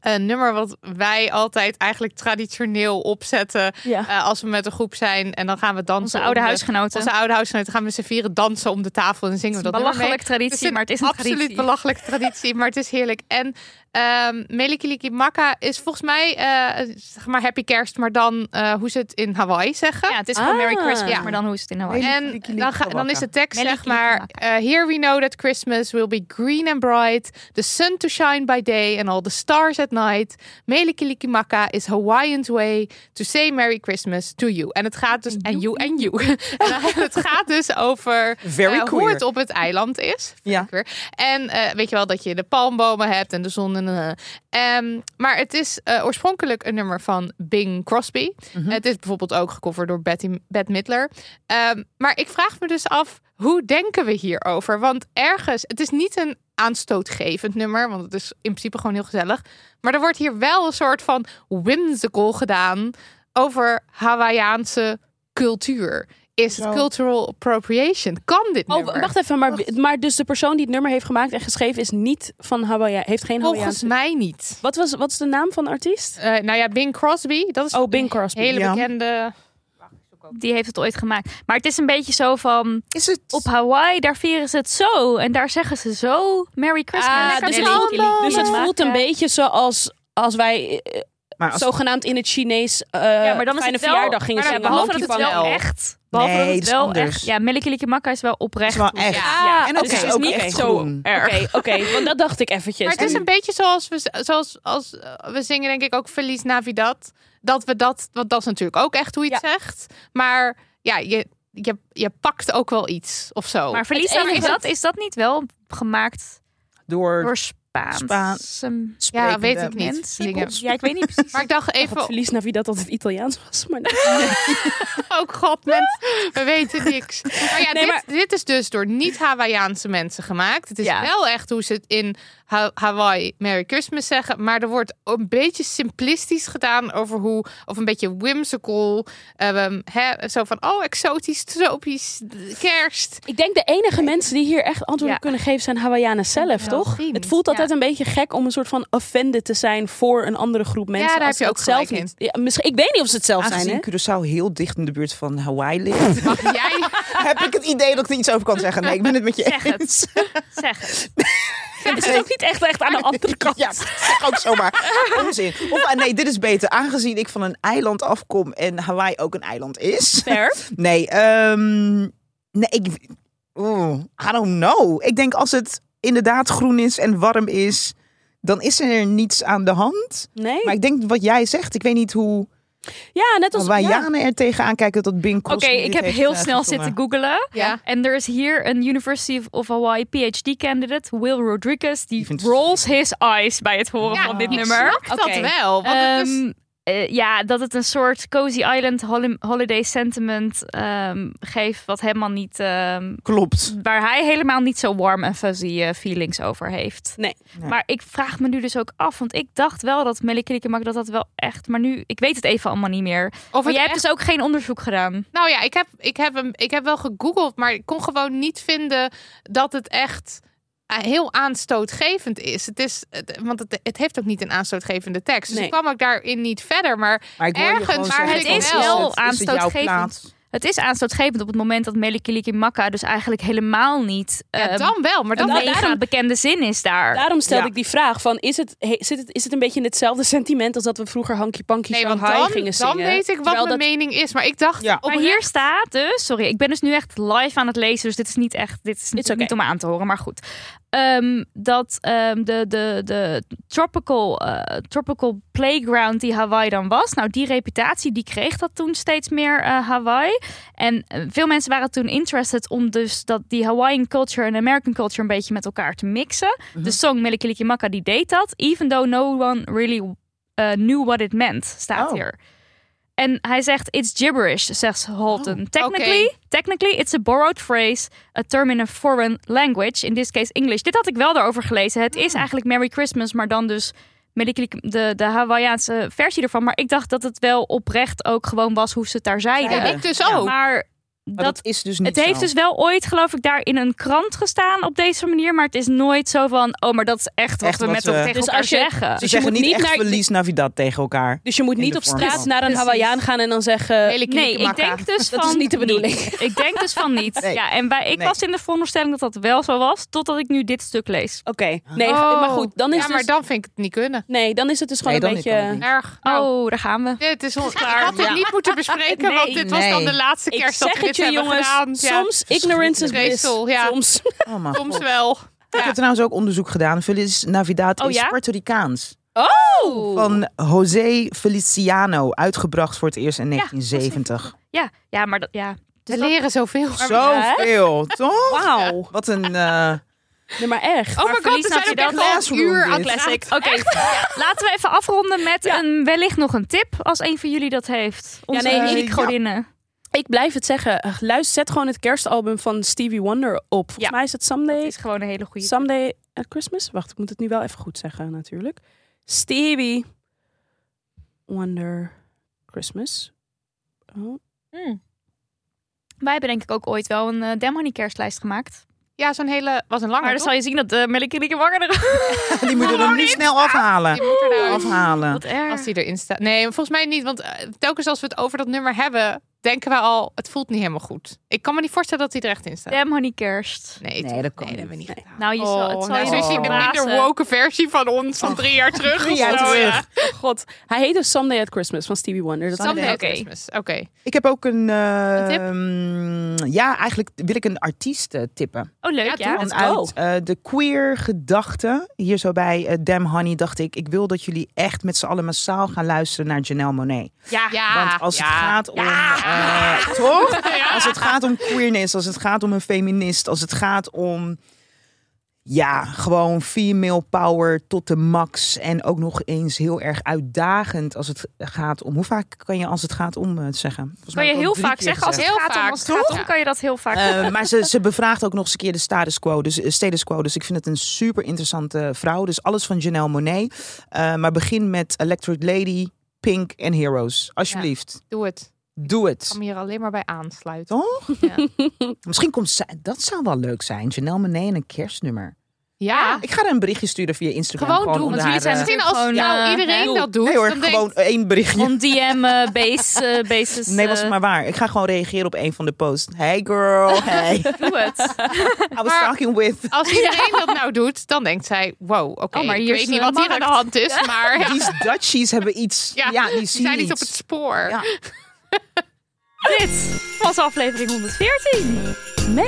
een nummer wat wij altijd eigenlijk traditioneel opzetten. Ja. eh, als we met een groep zijn en dan gaan we dansen. Onze om oude de- huisgenoten. Onze oude huisgenoten gaan we z'n vieren dansen om de tafel en dan zingen we dat nummer mee. belachelijk traditie, Het is een maar het is een absoluut traditie. belachelijke traditie, maar het is heerlijk. En ehm Melikiliki Maka is volgens mij, eh, zeg maar, happy kerst, maar dan eh, hoe ze het in Hawaii zeggen. Ja, het is gewoon Merry Ah. Christmas, Ja. maar dan hoe is het in Hawaii? En dan, ga- dan is de tekst zeg Melikiliki maar... Maka. eh, Here we know that Christmas will be green and bright. The sun to shine by day and all the stars at night. Melikilikimaka is Hawaiian's way to say Merry Christmas to you. En het gaat dus... En you and you. En het gaat dus over Very eh, hoe queer. het op het eiland is. Vind Ja. ik weer. En eh, weet je wel dat je de palmbomen hebt en de zon. En, eh. Ehm, maar het is eh, oorspronkelijk een nummer van Bing Crosby. Het is bijvoorbeeld ook gecoverd door Betty, Bette Midler. Ehm, maar ik vraag me dus af, hoe denken we hierover? Want ergens, het is niet een aanstootgevend nummer, want het is in principe gewoon heel gezellig. Maar er wordt hier wel een soort van whimsical gedaan over Hawaïaanse cultuur. Is het Zo. cultural appropriation? Kan dit Oh, nummer? wacht even. Maar, maar dus de persoon die het nummer heeft gemaakt en geschreven is niet van Hawaii. Heeft Oh, geen Volgens Hawaiiaanse... mij niet. Wat, was, wat is de naam van de artiest? Eh, nou ja, Bing Crosby, dat is Eh, Oh, Bing Crosby. een hele ja. bekende. Die heeft het ooit gemaakt. Maar het is een beetje zo van... Is het? Op Hawaii, daar vieren ze het zo. En daar zeggen ze zo Merry Christmas. Ah, dus En het voelt- Melikiliki Dus het Maka. voelt een beetje zoals als wij eh, maar als, zogenaamd in het Chinees eh Ja, maar dan is fijne het wel, verjaardag gingen maar zingen. Behalve dat Monkey het wel Fun. echt... Behalve Nee, dat dat het is wel anders. echt... Ja, Melikiliki Maka is wel oprecht. is wel echt. Ja. En ook, dus het is is ook niet echt echt groen. Oké, oké, want dat dacht ik eventjes. Maar het is En- een beetje zoals we, z- zoals als, eh, we zingen, denk ik ook Feliz Navidad. Dat we dat, want dat is natuurlijk ook echt hoe je het zegt. Maar ja, je, je, je pakt ook wel iets of zo. Maar verlies Het enige is dat, is dat niet wel gemaakt Door door Spaanse Spaans. ja, sprekende weet ik niet. mensen? Zingen. Ja, ik weet niet precies. Maar ik dacht Ik had even, verlies naar wie dat altijd Italiaans was. Maar ook god, mensen, we weten niks. Maar ja, Nee, dit, maar- dit is dus door niet-Hawaïaanse mensen gemaakt. Het is Ja. wel echt hoe ze het in Ha- Hawaii Merry Christmas zeggen. Maar er wordt een beetje simplistisch gedaan over hoe... Of een beetje whimsical. ehm, hè, zo van, oh, exotisch, tropisch, kerst. ik denk de enige mensen die hier echt antwoord Ja. op kunnen geven zijn Hawaiianen zelf, wel toch? zien. Het voelt altijd een beetje gek om een soort van offended te zijn voor een andere groep mensen. daar heb als je ze ook het zelf gelijk niet. Ja, misschien, ik weet niet of ze het zelf zijn, hè? aangezien Curaçao heel dicht in de buurt van Hawaii ligt, Mag jij heb ik het idee dat ik er iets over kan zeggen. Nee, ik ben het met je Zeg het. eens. Zeg het. Het is ook niet echt, echt aan de andere kant. Ja, zeg ook zomaar. Onzin. Of ah, nee, dit is beter. Aangezien ik van een eiland afkom en Hawaii ook een eiland is. Fair. Nee, ehm, nee ik, oeh, I don't know. Ik denk als het inderdaad groen is en warm is, dan is er niets aan de hand. Nee? Maar ik denk wat jij zegt, ik weet niet hoe Ja, net als... ja. Hawaiianen er tegenaan kijken dat Bing Oké, Crosby dit ik heb heeft, heel eh, snel gezongen. zitten googelen. Ja. En er is hier een University of Hawaii PhD candidate, Will Rodriguez, die Ik vind het- rolls his eyes bij het horen Ja, van dit ik nummer. snap dat wel? Want het is- Ehm, eh, ja, dat het een soort cozy island holi- holiday sentiment ehm, geeft, wat helemaal niet, ehm, Klopt. waar hij helemaal niet zo warm en fuzzy eh, feelings over heeft. Nee. Nee. Maar ik vraag me nu dus ook af, want ik dacht wel dat Melikilikemak dat dat wel echt, maar nu, ik weet het even allemaal niet meer. of Maar het jij echt- hebt dus ook geen onderzoek gedaan. Nou ja, ik heb, ik, heb hem, ik heb wel gegoogeld, maar ik kon gewoon niet vinden dat het echt eh, heel aanstootgevend is. Het is het- want het, het heeft ook niet een aanstootgevende tekst. Dus Nee. ik kwam ook daarin niet verder. Maar, Maar ik hoor je ergens, gewoon maar zeggen, het ook is al wel is het jouw aanstootgevend. plaats? Het is aanstootgevend op het moment dat Melikilikemakka dus eigenlijk helemaal niet ja, ehm, dan wel. Maar een dan dat- Nou, mega daarom- bekende zin is daar. Daarom stelde Ja. ik die vraag van, is het, he- zit het, is het een beetje in hetzelfde sentiment als dat we vroeger Hanky Panky Nee, want Shanghai dan, gingen zingen? dan weet ik wat Terwijl mijn dat- mening is. Maar ik dacht, oh, Ja. Maar hier staat dus, sorry, ik ben dus nu echt live aan het lezen, dus dit is niet echt, dit is It's okay. niet om aan te horen, maar goed. Ehm, dat ehm, de, de, de tropical, eh, tropical playground die Hawaii dan was, nou die reputatie die kreeg dat toen steeds meer eh, Hawaii. En eh, veel mensen waren toen interested om dus dat die Hawaiian culture en American culture een beetje met elkaar te mixen. Mhm. De song Melikilikimaka die deed dat, even though no one really eh, knew what it meant, staat Oh. hier. En hij zegt, it's gibberish, zegt Holton. technically, technically, it's a borrowed phrase, a term in a foreign language, in this case English. Dit had ik wel daarover gelezen. Het Ah. is eigenlijk Merry Christmas, maar dan dus met die klik- de, de Hawaïaanse versie ervan. Maar ik dacht dat het wel oprecht ook gewoon was hoe ze het daar zeiden. Ja, Ja. ik dus ook. Maar Maar dat, dat, is dus niet het heeft zo. dus wel ooit, geloof ik, daar in een krant gestaan op deze manier. Maar het is nooit zo van, oh, maar dat is echt wat Echt we wat met we- elkaar tegen Dus elkaar als je- zeggen. Ze Dus je zeggen moet niet niet echt naar- verlies Navidad tegen elkaar. Dus je moet In niet de op vorm straat van- naar een Precies. Hawaiiaan gaan en dan zeggen... Hele Nee, ik klikkemakka. denk dus Dat van is niet de bedoeling. niet. Ik denk dus van niet. Nee. Ja, en wij, ik Nee. was in de veronderstelling dat dat wel zo was, totdat ik nu dit stuk lees. Oké, nee, maar goed, dan is, Oh. ja, het dus maar dan vind ik het niet kunnen. nee, dan is het dus gewoon Nee, een dan kan het beetje... niet. Erg. Nou, Oh, daar gaan we. Dit is ons klaar. Ik had dit Ja. niet moeten bespreken, Nee, want dit was nee. dan de laatste Ik kerst dat zeg we het dit je hebben jongens, gedaan. Ja, soms ignorance is bliss. Vreselijk. Ja. Soms. Oh, mijn soms God. wel. Ik heb trouwens ook onderzoek gedaan. Feliz Navidad Oh, is ja? Puerto Ricaans. Van José Feliciano, uitgebracht voor het eerst in 1970. Ja, ja maar dat, ja. We Dus dat- leren zoveel. Zoveel, toch? Wauw. Wat een... eh, Nee, maar echt. Oh my Maar god, verlies we zijn ook Navidad echt al een classroom uur dit. aan Classic. classic. Oké, laten we even afronden met een, wellicht nog een tip, als een van jullie dat heeft. Onze nee, ja, ik- nee, ja. Ik blijf het zeggen. Eh, Luister, zet gewoon het kerstalbum van Stevie Wonder op. Volgens Ja. mij is het Someday, is gewoon een hele goede Someday at Christmas. Wacht, ik moet het nu wel even goed zeggen natuurlijk. Stevie Wonder Christmas. Oh. Hmm. Wij hebben denk ik ook ooit wel een eh Dem Honey kerstlijst gemaakt. Ja, zo'n hele... was een lange, Maar dan toch? zal je zien dat uh, Melike Wanger er... die moeten we er nu snel Die afhalen. moet eruit. Afhalen. Wat erg. Als die erin staat. Nee, volgens mij niet. Want eh, telkens als we het over dat nummer hebben, denken we al, het voelt niet helemaal goed. Ik kan me niet voorstellen dat hij er echt in staat. Dem Honey kerst. Nee, Nee, toch? dat kan nee, dat hebben niet. we niet gedaan. Nou, je zal, het zal nou, je zo niet dus zie je de verbazen. minder woke versie van ons van drie jaar terug. Oh. Drie of jaar zo, terug. ja. God, hij heet dus Someday at Christmas van Stevie Wonder. Dat Someday at Oké. Christmas. Oké. Ik heb ook een... eh, Een tip? mm, Ja, eigenlijk wil ik een artiest eh, tippen. Oh, leuk, Ja, ja. En let's go. uit eh, de queer gedachte, hier zo bij eh, Damn Honey, dacht ik... ik wil dat jullie echt met z'n allen massaal gaan luisteren naar Janelle Monet. Ja. ja. Ah, Want als het gaat om... eh, toch? Als het gaat om queerness, als het gaat om een feminist... als het gaat om... Ja, gewoon female power tot de max. En ook nog eens heel erg uitdagend als het gaat om... Hoe vaak kan je als het gaat om eh, het zeggen? Volgens Kan mij je heb ik heel al drie vaak keer zeggen als het gezegd. gezegd. gaat om, Heel als het vaak, gaat toch? om, kan je dat heel vaak Eh, maar ze, ze bevraagt ook nog eens een keer de status quo. Dus, eh, status quo. Dus ik vind het een super interessante vrouw. Dus alles van Janelle Monet. Eh, maar begin met Electric Lady, Pink en Heroes. Alsjeblieft. Doe het. Doe Ik het. kan me hier alleen maar bij aansluiten. Toch? Ja. Misschien komt zij. Dat zou wel leuk zijn. Janelle Monet en een kerstnummer. ja. Ik ga haar een berichtje sturen via Instagram. Gewoon doen, om want haar, jullie zijn eh, Misschien als Gewoon, nou, eh, iedereen doe. dat doet, Nee hoor, dan gewoon denkt... één berichtje. On DM eh, base, eh, basis. Nee, was eh, het maar waar. Ik ga gewoon reageren op een van de posts. Hey girl, hey. Doe het. I was Maar- Oh, talking with. Als iedereen dat nou doet, dan denkt zij... Wow, oké, Oh, maar ik hier weet is niet een wat hier aan de markt. hand is, maar... Ja, Die Dutchies hebben iets. Ja, die zien zijn niet iets. op het spoor. Ja. Dit was aflevering 114. Man,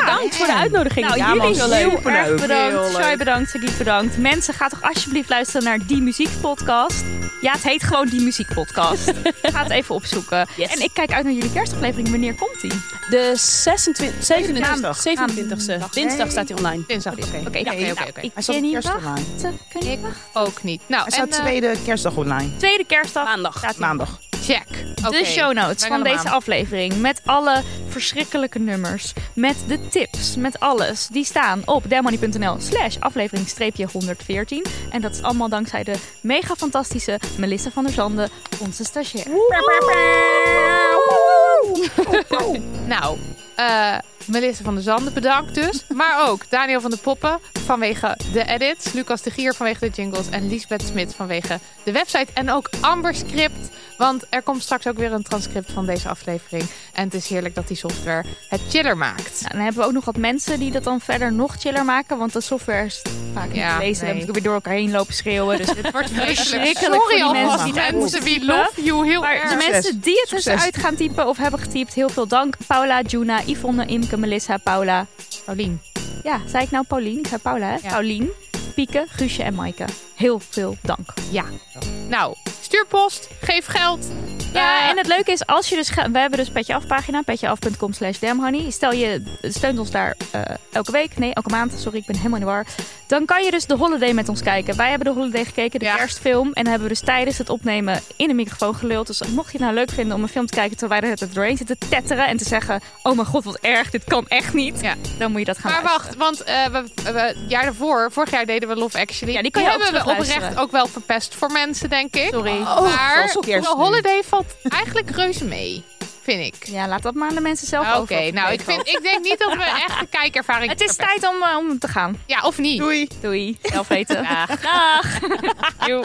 bedankt voor de uitnodiging. Nou, Ja, man, jullie heel heel leuk. erg Superleuk. bedankt. Heel leuk. Shai bedankt, Sagit bedankt. Mensen, ga toch alsjeblieft luisteren naar Die Muziek Podcast. Ja, het heet gewoon Die Muziek Podcast. ga het even opzoeken. Yes. En ik kijk uit naar jullie kerstaflevering. Wanneer komt die? Oké, De 26, 27, 27e. 27e. Dinsdag staat hij online. Dinsdag. Oké, oké, ja, oké, nou, oké. Ik Hij staat kan op niet kerst online. wachten. Kan niet Ik wachten. ook niet. Nou, Hij en staat eh, tweede kerstdag online. Tweede kerstdag. Maandag. staat hij Maandag. Nou, check. Oké, De show notes wij van gaan hem deze aan. aflevering. Met alle verschrikkelijke nummers. Met de tips. Met alles. Die staan op demoney.nl slash aflevering streepje 114. En dat is allemaal dankzij de mega fantastische Melissa van der Zanden, onze stagiair. Nou, eh, Melissa van der Zanden bedankt dus. Maar ook Daniel van de Poppen vanwege de edits. Lucas de Gier vanwege de jingles. En Lisbeth Smit vanwege de website. En ook Amber Script. Want er komt straks ook weer een transcript van deze aflevering. En het is heerlijk dat die software het chiller maakt. Nou, dan hebben we ook nog wat mensen die dat dan verder nog chiller maken. Want de software is vaak niet Ja, te lezen. nee. Dan moet ik weer door elkaar heen lopen schreeuwen. Dus Het wordt vreselijk. Verschrikkelijk voor Sorry die alvast mensen die die het mensen. We love you heel Maar de erg. mensen die het dus Succes. uit gaan typen of hebben getypt, heel veel dank. Paula, Juna, Yvonne, Imke, Melissa, Paula. Paulien. Ja, zei ik nou Paulien? Ik zei Paula, hè? Ja. Paulien, Pieke, Guusje en Maaike. Heel veel dank. Nou, stuur post. Geef geld. Ja, Eh, en het leuke is, als je dus ga- we hebben dus Petje Af pagina, petjeaf.com slash damhoney. Stel je steunt ons daar eh, elke week, nee, elke maand, sorry, ik ben helemaal in de war. Dan kan je dus de Holiday met ons kijken. Wij hebben de Holiday gekeken, de Ja. kerstfilm. En dan hebben we dus tijdens het opnemen in de microfoon geluld. Dus mocht je het nou leuk vinden om een film te kijken terwijl wij er het doorheen zitten te tetteren. En te zeggen, oh mijn god, wat erg, dit kan echt niet. Ja. Dan moet je dat gaan Maar luisteren. wacht, want eh we, we- het jaar daarvoor, vorig jaar deden we Love Actually. Ja, die kan je ook hebben we terugluisteren. oprecht ook wel verpest voor mensen, denk ik. Sorry. Oh, maar zoals kerst de nu. holiday valt eigenlijk reuze mee, vind ik. Ja, laat dat maar aan de mensen zelf Oké, over. of het nou, ik, meevalt. vind, ik denk niet dat we echt de kijkervaring Het is verpesten. tijd om, eh, om te gaan. Ja, of niet? Doei. Doei. Zelf weten. Ah, Dag. Dag.